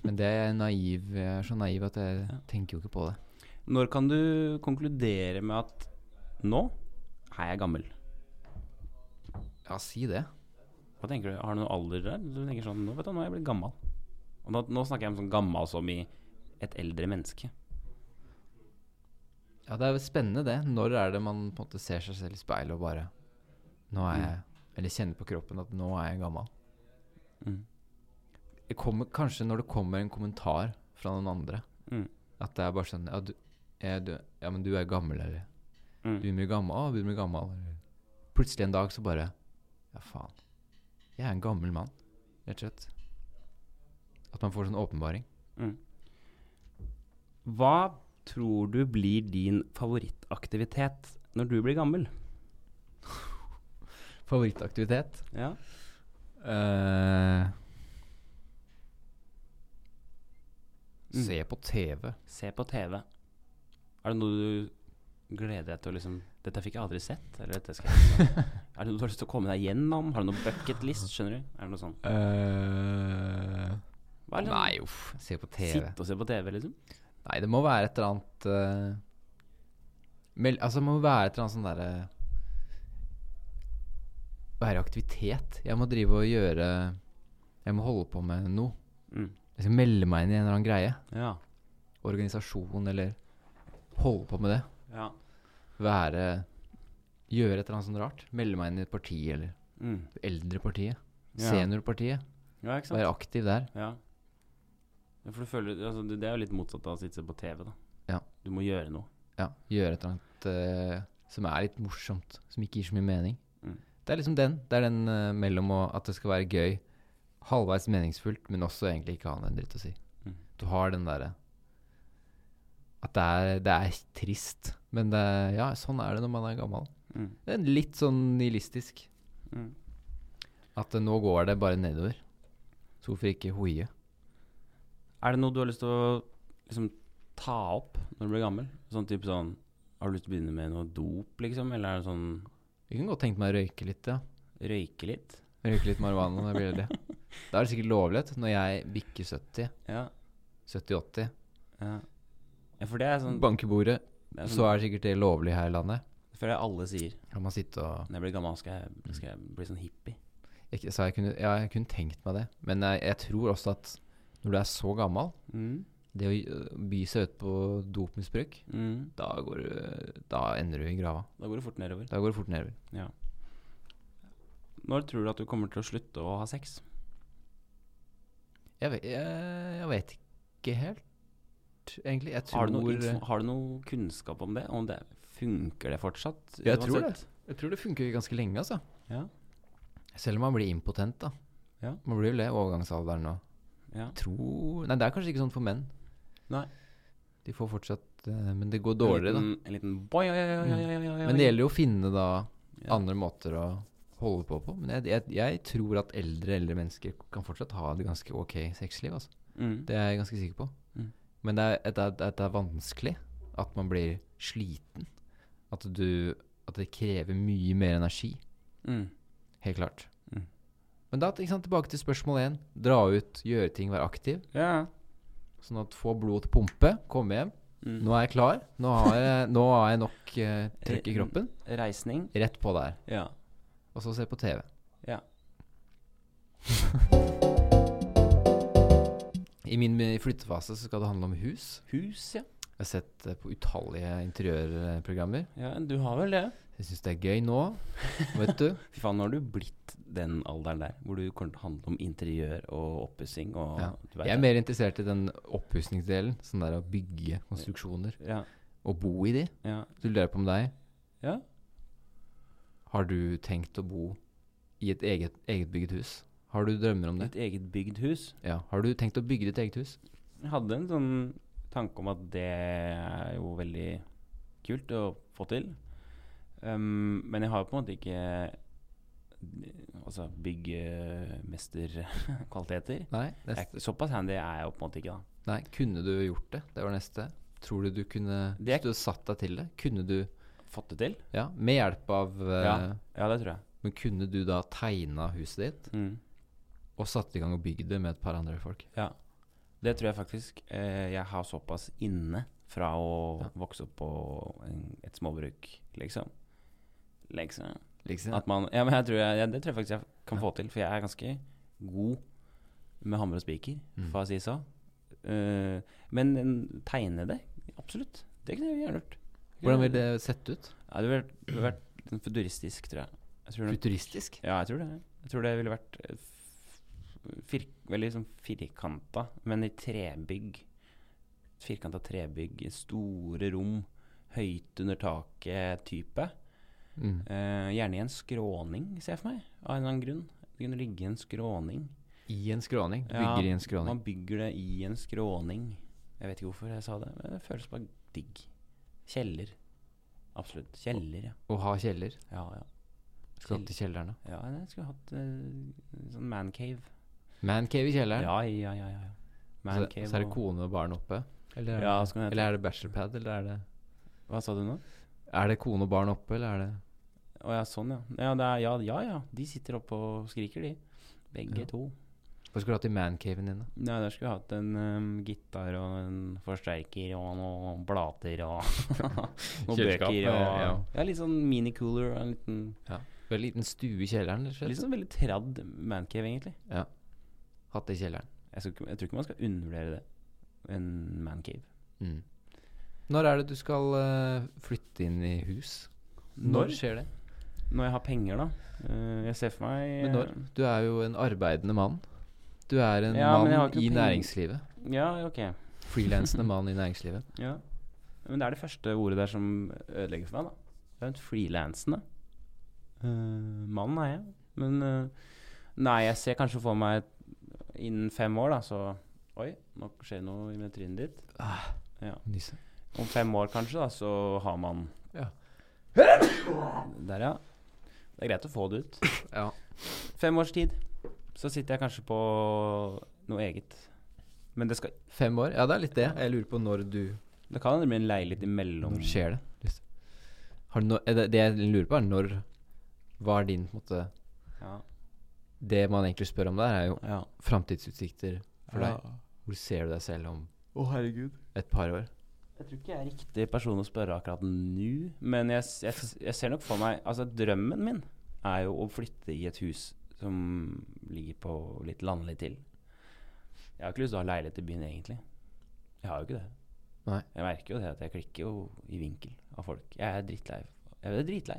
Speaker 2: men det er naiv. Jeg er så naiv at jeg
Speaker 1: Ja.
Speaker 2: tenker jo ikke på det.
Speaker 1: Når kan du konkludere med at nå er jeg gammel?
Speaker 2: Ja, si det.
Speaker 1: Hva tenker du? Har du noen alder der? Du tenker sånn Nå vet du, nå er jeg blitt gammel. Og da, nå snakker jeg om sånn gammel som i et eldre menneske.
Speaker 2: Ja, det er jo spennende det. Når er det man på en måte ser seg selv i speilet og bare Nå er jeg Eller kjenner på kroppen at nå er jeg gammel.
Speaker 1: Mm.
Speaker 2: Det kommer, kanskje når det kommer en kommentar fra noen andre.
Speaker 1: Mm.
Speaker 2: At det er bare sånn Ja, du, er du, ja men du er gammel, eller
Speaker 1: Mm.
Speaker 2: Du blir gammel, å, du blir gammel. Eller. Plutselig en dag så bare Ja, faen. Jeg er en gammel mann, rett og slett. At man får sånn åpenbaring.
Speaker 1: Hva tror du blir din favorittaktivitet når du blir gammel?
Speaker 2: Favorittaktivitet?
Speaker 1: Ja.
Speaker 2: Eh, Se på TV.
Speaker 1: Se på TV. Er det noe du gleder deg til å liksom Dette fikk jeg aldri sett. Eller dette skal jeg Er det noe du har lyst til å komme deg gjennom? Har du noe bucket list? Skjønner du? Er det noe sånn? Hva er det,
Speaker 2: Nei, uff. Se på TV.
Speaker 1: Sitte og se på TV, liksom?
Speaker 2: Nei, det må være et eller annet eh, mel Altså, det må være et eller annet sånn derre Være i aktivitet. Jeg må drive og gjøre Jeg må holde på med noe.
Speaker 1: Mm.
Speaker 2: Jeg skal melde meg inn i en eller annen greie.
Speaker 1: Ja.
Speaker 2: Organisasjon eller Holde på med det.
Speaker 1: ja.
Speaker 2: Være Gjøre et eller annet sånt rart. Melde meg inn i et parti eller
Speaker 1: Mm.
Speaker 2: Eldrepartiet.
Speaker 1: Ja.
Speaker 2: Seniorpartiet.
Speaker 1: ja, ikke sant?
Speaker 2: Være aktiv der.
Speaker 1: Ja. ja for du føler, altså, det, det er jo litt motsatt av å sitte på TV, da.
Speaker 2: Ja.
Speaker 1: Du må gjøre noe.
Speaker 2: Ja, Gjøre et eller annet eh, som er litt morsomt, som ikke gir så mye mening.
Speaker 1: Mm.
Speaker 2: Det er liksom den. Det er den eh, mellom å, at det skal være gøy, halvveis meningsfullt, men også egentlig ikke ha en dritt å si.
Speaker 1: Mm.
Speaker 2: Du har den derre At det er, det er trist, men det, er- ja, sånn er det når man er gammel.
Speaker 1: Mm.
Speaker 2: Det er litt sånn nihilistisk.
Speaker 1: Mm.
Speaker 2: At eh, nå går det bare nedover. Så hvorfor ikke hoie?
Speaker 1: Er det noe du har lyst til å liksom, ta opp når du blir gammel? Sånn type sånn Har du lyst til å begynne med noe dop, liksom? Eller er det sånn
Speaker 2: Jeg kunne godt tenkt meg å røyke litt, ja.
Speaker 1: røyke litt?
Speaker 2: Røyke litt marihuana når jeg blir eldre. Da er det sikkert lovlig vet du, når jeg bikker 70,
Speaker 1: Ja,
Speaker 2: 70-80,
Speaker 1: ja. ja for det er sånn,
Speaker 2: banker bordet,
Speaker 1: det er
Speaker 2: så
Speaker 1: sånn
Speaker 2: er det sikkert det lovlig her i landet.
Speaker 1: Det føler jeg alle sier.
Speaker 2: Kan man sitte og
Speaker 1: Når jeg blir gammel, skal jeg, skal jeg bli sånn hippie.
Speaker 2: jeg, sa jeg, kunne, ja, jeg kunne tenkt meg det, men jeg, jeg tror også at når du er så gammel,
Speaker 1: Mm.
Speaker 2: det å øh, by seg ut på dopmisbruk,
Speaker 1: Mm.
Speaker 2: da, går, du- da ender du i grava.
Speaker 1: Da går det fort nedover.
Speaker 2: Da går det fort nedover.
Speaker 1: Når tror du at du kommer til å slutte å ha sex?
Speaker 2: Jeg vet, jeg, jeg vet ikke helt, egentlig. Jeg tror
Speaker 1: Har du, noe, info- har du noe kunnskap om det? Om det funker det fortsatt?
Speaker 2: Jeg tror
Speaker 1: uansett?
Speaker 2: Jeg tror det funker ganske lenge, altså.
Speaker 1: Ja.
Speaker 2: Selv om man blir impotent, da.
Speaker 1: Ja.
Speaker 2: Man blir jo det i overgangsalderen nå.
Speaker 1: Ja.
Speaker 2: Tror Nei, det er kanskje ikke sånn for menn.
Speaker 1: Nei.
Speaker 2: De får fortsatt eh, Men det går dårligere,
Speaker 1: En liten, en liten boy, oi, oi, oi, oi, oi, oi.
Speaker 2: da. Men det gjelder jo å finne da
Speaker 1: Ja.
Speaker 2: andre måter å holde på på. Men jeg, jeg, jeg tror at eldre eldre mennesker kan fortsatt ha et ganske ok sexliv, altså.
Speaker 1: mm.
Speaker 2: Det er jeg ganske sikker på.
Speaker 1: Mm.
Speaker 2: Men det er, at det, er, at det er vanskelig at man blir sliten. At du At det krever mye mer energi.
Speaker 1: Mm.
Speaker 2: Helt klart.
Speaker 1: Mm.
Speaker 2: Men da, ikke sant, tilbake til spørsmål én. Dra ut, gjøre ting, være aktiv.
Speaker 1: Ja.
Speaker 2: Sånn at få blodet til pumpe, komme hjem.
Speaker 1: Mm.
Speaker 2: Nå er jeg klar. Nå har jeg, nå har jeg nok uh,
Speaker 1: Eh,
Speaker 2: trøkk i kroppen.
Speaker 1: mm. Reisning.
Speaker 2: Rett på der.
Speaker 1: Ja.
Speaker 2: Og så se på TV.
Speaker 1: Ja.
Speaker 2: I min eh, flyttefase så skal det handle om hus.
Speaker 1: Hus, ja.
Speaker 2: Jeg har sett det på utallige interiørprogrammer.
Speaker 1: ja. Du har vel det?
Speaker 2: Jeg syns det er gøy nå, vet du.
Speaker 1: Fy faen, nå har du blitt den alderen der hvor du kommer til å handle om interiør og oppussing og
Speaker 2: Ja.
Speaker 1: du vet
Speaker 2: Jeg er
Speaker 1: det.
Speaker 2: mer interessert i den oppussingsdelen. Sånn der å bygge konstruksjoner.
Speaker 1: Ja.
Speaker 2: Å bo i de.
Speaker 1: Ja.
Speaker 2: Du lurer på om deg.
Speaker 1: ja.
Speaker 2: Har du tenkt å bo i et eget, eget bygget hus? Har du drømmer om det?
Speaker 1: Ditt eget bygd hus.
Speaker 2: Ja. Har du tenkt å bygge ditt eget hus?
Speaker 1: Jeg hadde en sånn tanke om at det er jo veldig kult å få til. Um, men jeg har jo på en måte ikke altså byggemesterkvaliteter.
Speaker 2: Nei.
Speaker 1: Jeg er
Speaker 2: Neste.
Speaker 1: ikke- Såpass handy er jeg jo på en måte ikke, da.
Speaker 2: Nei. Kunne du gjort det? Det var neste. Tror du du kunne
Speaker 1: Det er-
Speaker 2: Hvis du hadde satt deg til det, kunne du
Speaker 1: Fått det til?
Speaker 2: Ja, med hjelp av eh,
Speaker 1: Ja. Ja, det tror jeg.
Speaker 2: Men kunne du da tegna huset ditt
Speaker 1: Mm.
Speaker 2: og satt i gang og bygd det med et par andre folk?
Speaker 1: Ja. Det tror jeg faktisk. Eh, jeg har såpass inne fra å vokse opp på en, et småbruk, liksom. Liksom.
Speaker 2: Liksom.
Speaker 1: At man, ja, men jeg tror jeg, jeg, det tror jeg faktisk jeg kan få til, for jeg er ganske god med hammer og spiker,
Speaker 2: Mm.
Speaker 1: for å si så. Eh, men en- tegne det, absolutt. Det kunne jeg gjerne gjort.
Speaker 2: Hvordan vil det sett ut?
Speaker 1: Ja, det ville vært, det ville vært sånn futuristisk, tror jeg. jeg tror det,
Speaker 2: Futuristisk?
Speaker 1: ja, jeg tror det. Jeg tror det ville vært eh, f- fir, veldig sånn firkanta, men i trebygg. Firkanta trebygg, store rom, høyt under taket-type.
Speaker 2: Mm.
Speaker 1: Eh, gjerne i en skråning, ser jeg for meg. Av en eller annen grunn. Det kunne ligge i en skråning.
Speaker 2: I en skråning? Du
Speaker 1: Ja,
Speaker 2: Bygger i en skråning?
Speaker 1: Man bygger det i en skråning. Jeg vet ikke hvorfor jeg sa det, men det føles bare digg. Kjeller. Absolutt. Kjeller, ja.
Speaker 2: Og ha kjeller?
Speaker 1: Ja, ja.
Speaker 2: Skal til kjellerne?
Speaker 1: ja jeg skulle hatt eh, sånn mancave.
Speaker 2: Mancave i kjelleren?
Speaker 1: Ja, ja, ja. ja, ja.
Speaker 2: Så, så er det
Speaker 1: og-
Speaker 2: kone og barn oppe? Eller er,
Speaker 1: Ja,
Speaker 2: det,
Speaker 1: så kan jeg-
Speaker 2: eller er det bachelorpad? Eller er det
Speaker 1: Hva sa du nå?
Speaker 2: Er det kone og barn oppe, eller er det
Speaker 1: Å ja, sånn, ja. Ja, det er, ja. ja, ja. De sitter oppe og skriker, de. Begge
Speaker 2: Ja.
Speaker 1: to.
Speaker 2: Hva skulle du hatt i mancaven din, da?
Speaker 1: Nei, der skulle vi hatt en em, gitar og en forsterker og noen blater og noen
Speaker 2: Kjøleskap,
Speaker 1: bøker. Og, ja.
Speaker 2: ja.
Speaker 1: litt sånn minicooler. og En liten,
Speaker 2: En liten stue i kjelleren? Eller
Speaker 1: litt sånn veldig tradd mancave, egentlig.
Speaker 2: Hatt det i kjelleren.
Speaker 1: Jeg, skal, ikke- jeg tror ikke man skal undervurdere det. En mancave.
Speaker 2: Mm. Når er det du skal eh, flytte inn i hus? Når skjer det?
Speaker 1: Når jeg har penger, da. Eh, jeg ser for meg eh,
Speaker 2: Men når? Du er jo en arbeidende mann. Du er en
Speaker 1: Ja, men jeg har
Speaker 2: mann
Speaker 1: ikke
Speaker 2: i
Speaker 1: penger.
Speaker 2: næringslivet.
Speaker 1: Ja, ok.
Speaker 2: Frilansende mann i næringslivet.
Speaker 1: Ja. Men det er det første ordet der som ødelegger for meg, da. Det er en frilansende. Uh, mann er jeg. Men eh, Nei, jeg ser kanskje for meg et- innen fem år, da, så Oi, nå skjer det noe med trynet ditt.
Speaker 2: Nisse.
Speaker 1: Om fem år kanskje, da, så har man
Speaker 2: Ja.
Speaker 1: Der, ja. Det er greit å få det ut.
Speaker 2: Ja.
Speaker 1: Fem års tid. Så sitter jeg kanskje på noe eget. Men det, skal,
Speaker 2: Fem år? Ja, det er litt det. Jeg lurer på når du
Speaker 1: det kan hende det blir en leilighet imellom.
Speaker 2: Når skjer det? Nisse? Har du no, er det, det jeg lurer på, er når Hva er din på en måte
Speaker 1: Ja.
Speaker 2: Det man egentlig spør om der, er jo
Speaker 1: Ja.
Speaker 2: framtidsutsikter for deg. Hvor ser du deg selv om et par år?
Speaker 1: Jeg tror ikke jeg er riktig person å spørre akkurat nå, men jeg, s- jeg, s- jeg ser nok for meg Altså, drømmen min er jo å flytte i et hus som ligger på litt landlig til. Jeg har ikke lyst til å ha leilighet i byen, egentlig. Jeg har jo ikke det.
Speaker 2: Nei.
Speaker 1: Jeg merker jo det at jeg klikker jo i vinkel av folk. Jeg er drittlei. Jeg er dritlei.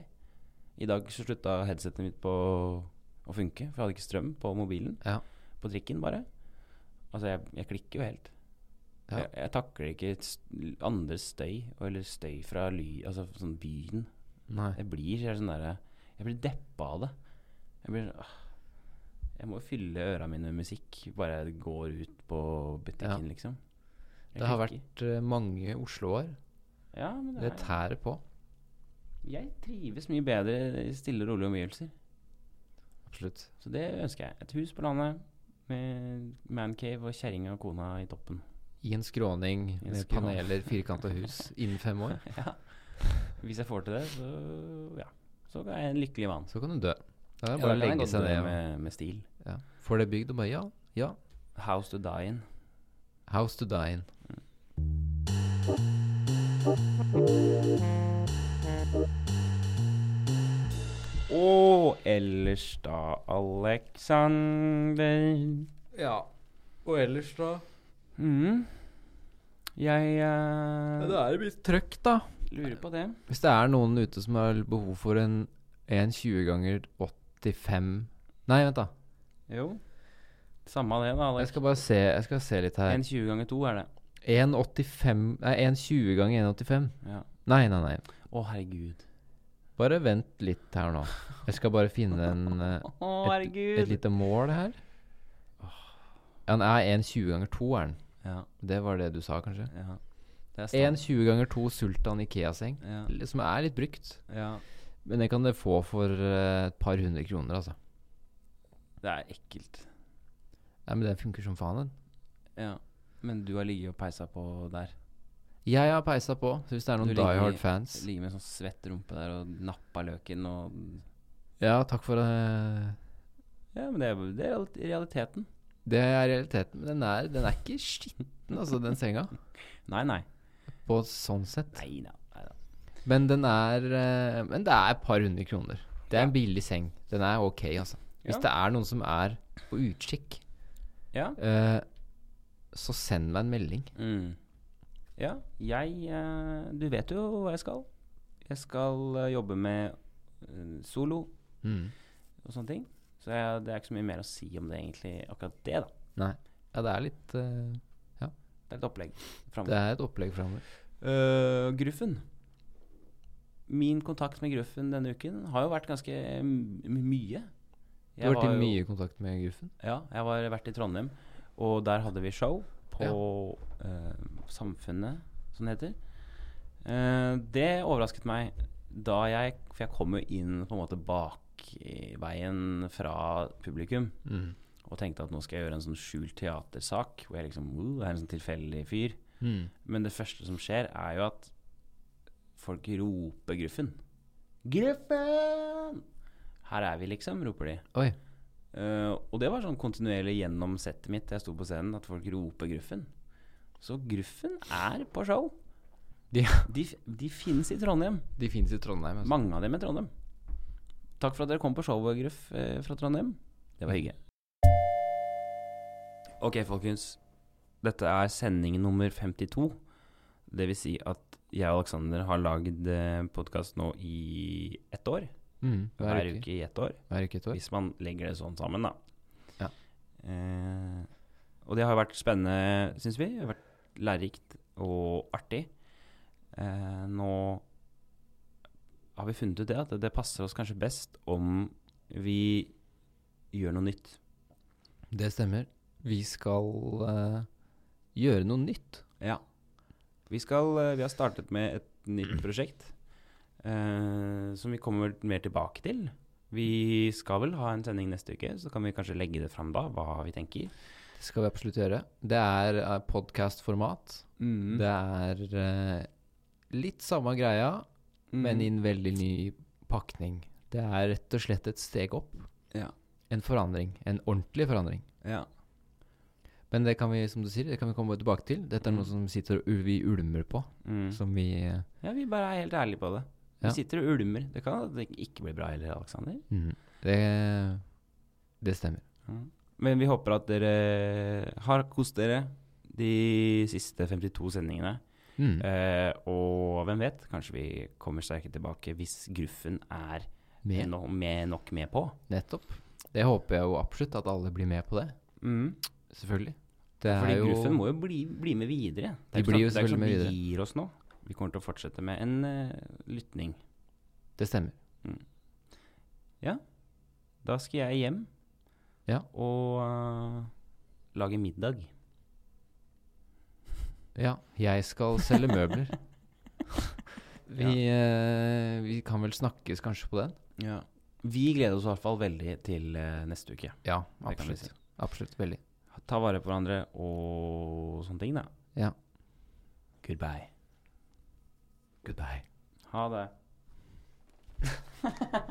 Speaker 1: I dag så slutta headsetet mitt på å funke, for jeg hadde ikke strøm på mobilen.
Speaker 2: Ja.
Speaker 1: På trikken, bare. Altså, jeg, jeg klikker jo helt.
Speaker 2: Ja.
Speaker 1: Jeg, jeg takler ikke st- andres støy, eller støy fra ly, altså sånn byen.
Speaker 2: Nei.
Speaker 1: Jeg blir jeg er sånn der, Jeg blir deppa av det. Jeg blir sånn, «Åh, Jeg må fylle øra mine med musikk bare jeg går ut på butikken, liksom. Jeg
Speaker 2: Det har
Speaker 1: klikker.
Speaker 2: vært eh, mange Oslo-år.
Speaker 1: ja, men det
Speaker 2: Det
Speaker 1: er,
Speaker 2: tærer på.
Speaker 1: Jeg trives mye bedre i stille og rolige omgivelser.
Speaker 2: Absolutt.
Speaker 1: Så det ønsker jeg. Et hus på landet med mancave og kjerringa og kona i toppen.
Speaker 2: I en skråning
Speaker 1: en
Speaker 2: med
Speaker 1: skråning.
Speaker 2: paneler, firkanta hus innen fem år,
Speaker 1: ja. Hvis jeg får til det, så ja. Så er jeg en lykkelig mann.
Speaker 2: så kan du dø. Da
Speaker 1: Ja, da
Speaker 2: er det bare å
Speaker 1: kan jeg
Speaker 2: legge
Speaker 1: godt
Speaker 2: seg
Speaker 1: dø
Speaker 2: ned. og-
Speaker 1: Med, med stil.
Speaker 2: Ja. Får det bygd, og bare ja, ja.
Speaker 1: House to die in.
Speaker 2: House to die in.
Speaker 1: Og ellers da, Alexander
Speaker 2: Ja. Og ellers, da?
Speaker 1: mm. Jeg eh,
Speaker 2: er det litt trøkk, da.
Speaker 1: lurer på det.
Speaker 2: Hvis det er noen ute som har behov for en 1,20 ganger 85 Nei, vent, da.
Speaker 1: Jo. Samme av det, da.
Speaker 2: Jeg
Speaker 1: Alex.
Speaker 2: skal bare se, jeg skal se litt her.
Speaker 1: En 20 ganger 2 er det.
Speaker 2: 1,85 Nei, 1,20 ganger 1,85.
Speaker 1: Ja.
Speaker 2: Nei, nei, nei.
Speaker 1: Å, herregud.
Speaker 2: Bare vent litt her nå. Jeg skal bare finne en, eh,
Speaker 1: Å,
Speaker 2: et, et
Speaker 1: herregud.
Speaker 2: lite mål her. Ja, Han er 1,20 ganger 2, er han.
Speaker 1: Ja,
Speaker 2: Det var det du sa, kanskje?
Speaker 1: ja. Det er sant.
Speaker 2: 1,20 ganger 2 Sultan Ikea-seng,
Speaker 1: Ja,
Speaker 2: l- som er litt brukt.
Speaker 1: ja.
Speaker 2: Men det kan dere få for eh, et par hundre kroner, altså.
Speaker 1: Det er ekkelt.
Speaker 2: Nei, men den funker som faen, den.
Speaker 1: Ja. Men du har ligget og peisa på der.
Speaker 2: Jeg har peisa på, så hvis det er
Speaker 1: Du
Speaker 2: noen
Speaker 1: ligger i-
Speaker 2: Die Hard fans
Speaker 1: Ligget med en sånn svett rumpe der og nappa løken og
Speaker 2: Ja, takk for eh,
Speaker 1: Ja, men det er, det er reali- realiteten.
Speaker 2: Det er realiteten. Men den er, den er ikke skitten, altså, den senga.
Speaker 1: Nei, nei.
Speaker 2: På sånn sett.
Speaker 1: Nei da. Nei, da.
Speaker 2: Men den er eh, Men det er et par hundre kroner. Det er en billig seng. Den er ok, altså. Hvis
Speaker 1: Ja.
Speaker 2: det er noen som er på utkikk,
Speaker 1: Ja.
Speaker 2: eh, så send meg en melding.
Speaker 1: Mm. Ja, jeg eh, Du vet jo hva jeg skal. Jeg skal eh, jobbe med eh, solo
Speaker 2: Mm.
Speaker 1: og sånne ting. Så jeg, det er ikke så mye mer å si om det, egentlig, akkurat det, da.
Speaker 2: Ja, det er litt eh,
Speaker 1: Det er et opplegg.
Speaker 2: Det
Speaker 1: Fremover.
Speaker 2: er et opplegg framover.
Speaker 1: Øh, gruffen. Min kontakt med Gruffen denne uken har jo vært ganske m mye.
Speaker 2: Du har vært
Speaker 1: var
Speaker 2: i
Speaker 1: jo-
Speaker 2: mye kontakt med Gruffen?
Speaker 1: Ja, jeg har vært i Trondheim, og der hadde vi show på
Speaker 2: Ja.
Speaker 1: eh, Samfunnet, som det heter. Eh, det overrasket meg da jeg For jeg kom jo inn på en måte bakveien fra publikum
Speaker 2: Mm.
Speaker 1: og tenkte at nå skal jeg gjøre en sånn skjult teatersak hvor jeg liksom uh, er en sånn tilfeldig fyr.
Speaker 2: Mm.
Speaker 1: Men det første som skjer, er jo at folk roper 'Gruffen'. 'Gruffen!' Her er vi, liksom, roper de.
Speaker 2: Oi.
Speaker 1: Eh, og det var sånn kontinuerlig gjennom settet mitt da jeg sto på scenen, at folk roper 'Gruffen'. Så Gruffen er på show.
Speaker 2: De-
Speaker 1: de, f- de finnes i Trondheim.
Speaker 2: De fins i Trondheim. Altså.
Speaker 1: Mange av dem i Trondheim. Takk for at dere kom på showet, Gruff, eh, fra Trondheim. Det var hyggelig. Ok, folkens. Dette er sending nummer 52. Det vil si at jeg og Aleksander har lagd podkast nå i ett år.
Speaker 2: Mm.
Speaker 1: Hver, uke i ett år.
Speaker 2: Hver uke et år.
Speaker 1: Hvis man legger det sånn sammen, da.
Speaker 2: Ja.
Speaker 1: Eh, og det har vært spennende, syns vi. Det har vært lærerikt og artig. Eh, nå har vi funnet ut det, at det passer oss kanskje best om vi gjør noe nytt.
Speaker 2: Det stemmer. Vi skal eh, gjøre noe nytt.
Speaker 1: Ja. Vi, skal, eh, vi har startet med et nytt prosjekt eh, som vi kommer mer tilbake til. Vi skal vel ha en sending neste uke, så kan vi kanskje legge det fram da, hva vi tenker.
Speaker 2: Det skal vi absolutt gjøre. Det er uh, podkast-format.
Speaker 1: Mm.
Speaker 2: Det er eh, litt samme greia,
Speaker 1: Mm.
Speaker 2: men i en veldig ny pakning. Det er rett og slett et steg opp.
Speaker 1: Ja.
Speaker 2: en forandring. En ordentlig forandring.
Speaker 1: Ja.
Speaker 2: Men det kan vi som du sier, det kan vi komme tilbake til. Dette er noe som sitter og ul- vi ulmer på.
Speaker 1: Mm.
Speaker 2: Som vi eh,
Speaker 1: ja, vi bare er helt ærlige på det. Vi
Speaker 2: Ja.
Speaker 1: sitter og ulmer. Det kan at det ikke blir bra heller, Aleksander.
Speaker 2: mm, det, det stemmer.
Speaker 1: Men vi håper at dere har kost dere de siste 52 sendingene.
Speaker 2: Mm.
Speaker 1: Eh, og hvem vet, kanskje vi kommer sterkere tilbake hvis gruffen er
Speaker 2: Med.
Speaker 1: no med nok med på.
Speaker 2: Nettopp. Det håper jeg jo absolutt at alle blir med på det.
Speaker 1: Mm.
Speaker 2: Selvfølgelig. Det er
Speaker 1: Fordi
Speaker 2: jo
Speaker 1: gruffen må jo bli, bli med videre. Det
Speaker 2: De
Speaker 1: er ikke
Speaker 2: blir jo
Speaker 1: sånn- det er ikke
Speaker 2: selvfølgelig
Speaker 1: sånn
Speaker 2: med
Speaker 1: at vi gir oss nå. Vi kommer til å fortsette med en eh, lytning.
Speaker 2: Det stemmer.
Speaker 1: Da skal jeg hjem
Speaker 2: Ja.
Speaker 1: og eh, lage middag.
Speaker 2: Ja, jeg skal selge møbler. vi, eh, vi kan vel snakkes kanskje på den?
Speaker 1: Vi gleder oss i hvert fall veldig til eh, neste uke.
Speaker 2: Ja,
Speaker 1: Det kan vi
Speaker 2: absolutt.
Speaker 1: si.
Speaker 2: Absolutt, veldig.
Speaker 1: Ta vare på hverandre og sånne ting, da.
Speaker 2: Ja.
Speaker 1: Goodbye.
Speaker 2: Goodbye.
Speaker 1: Ha det.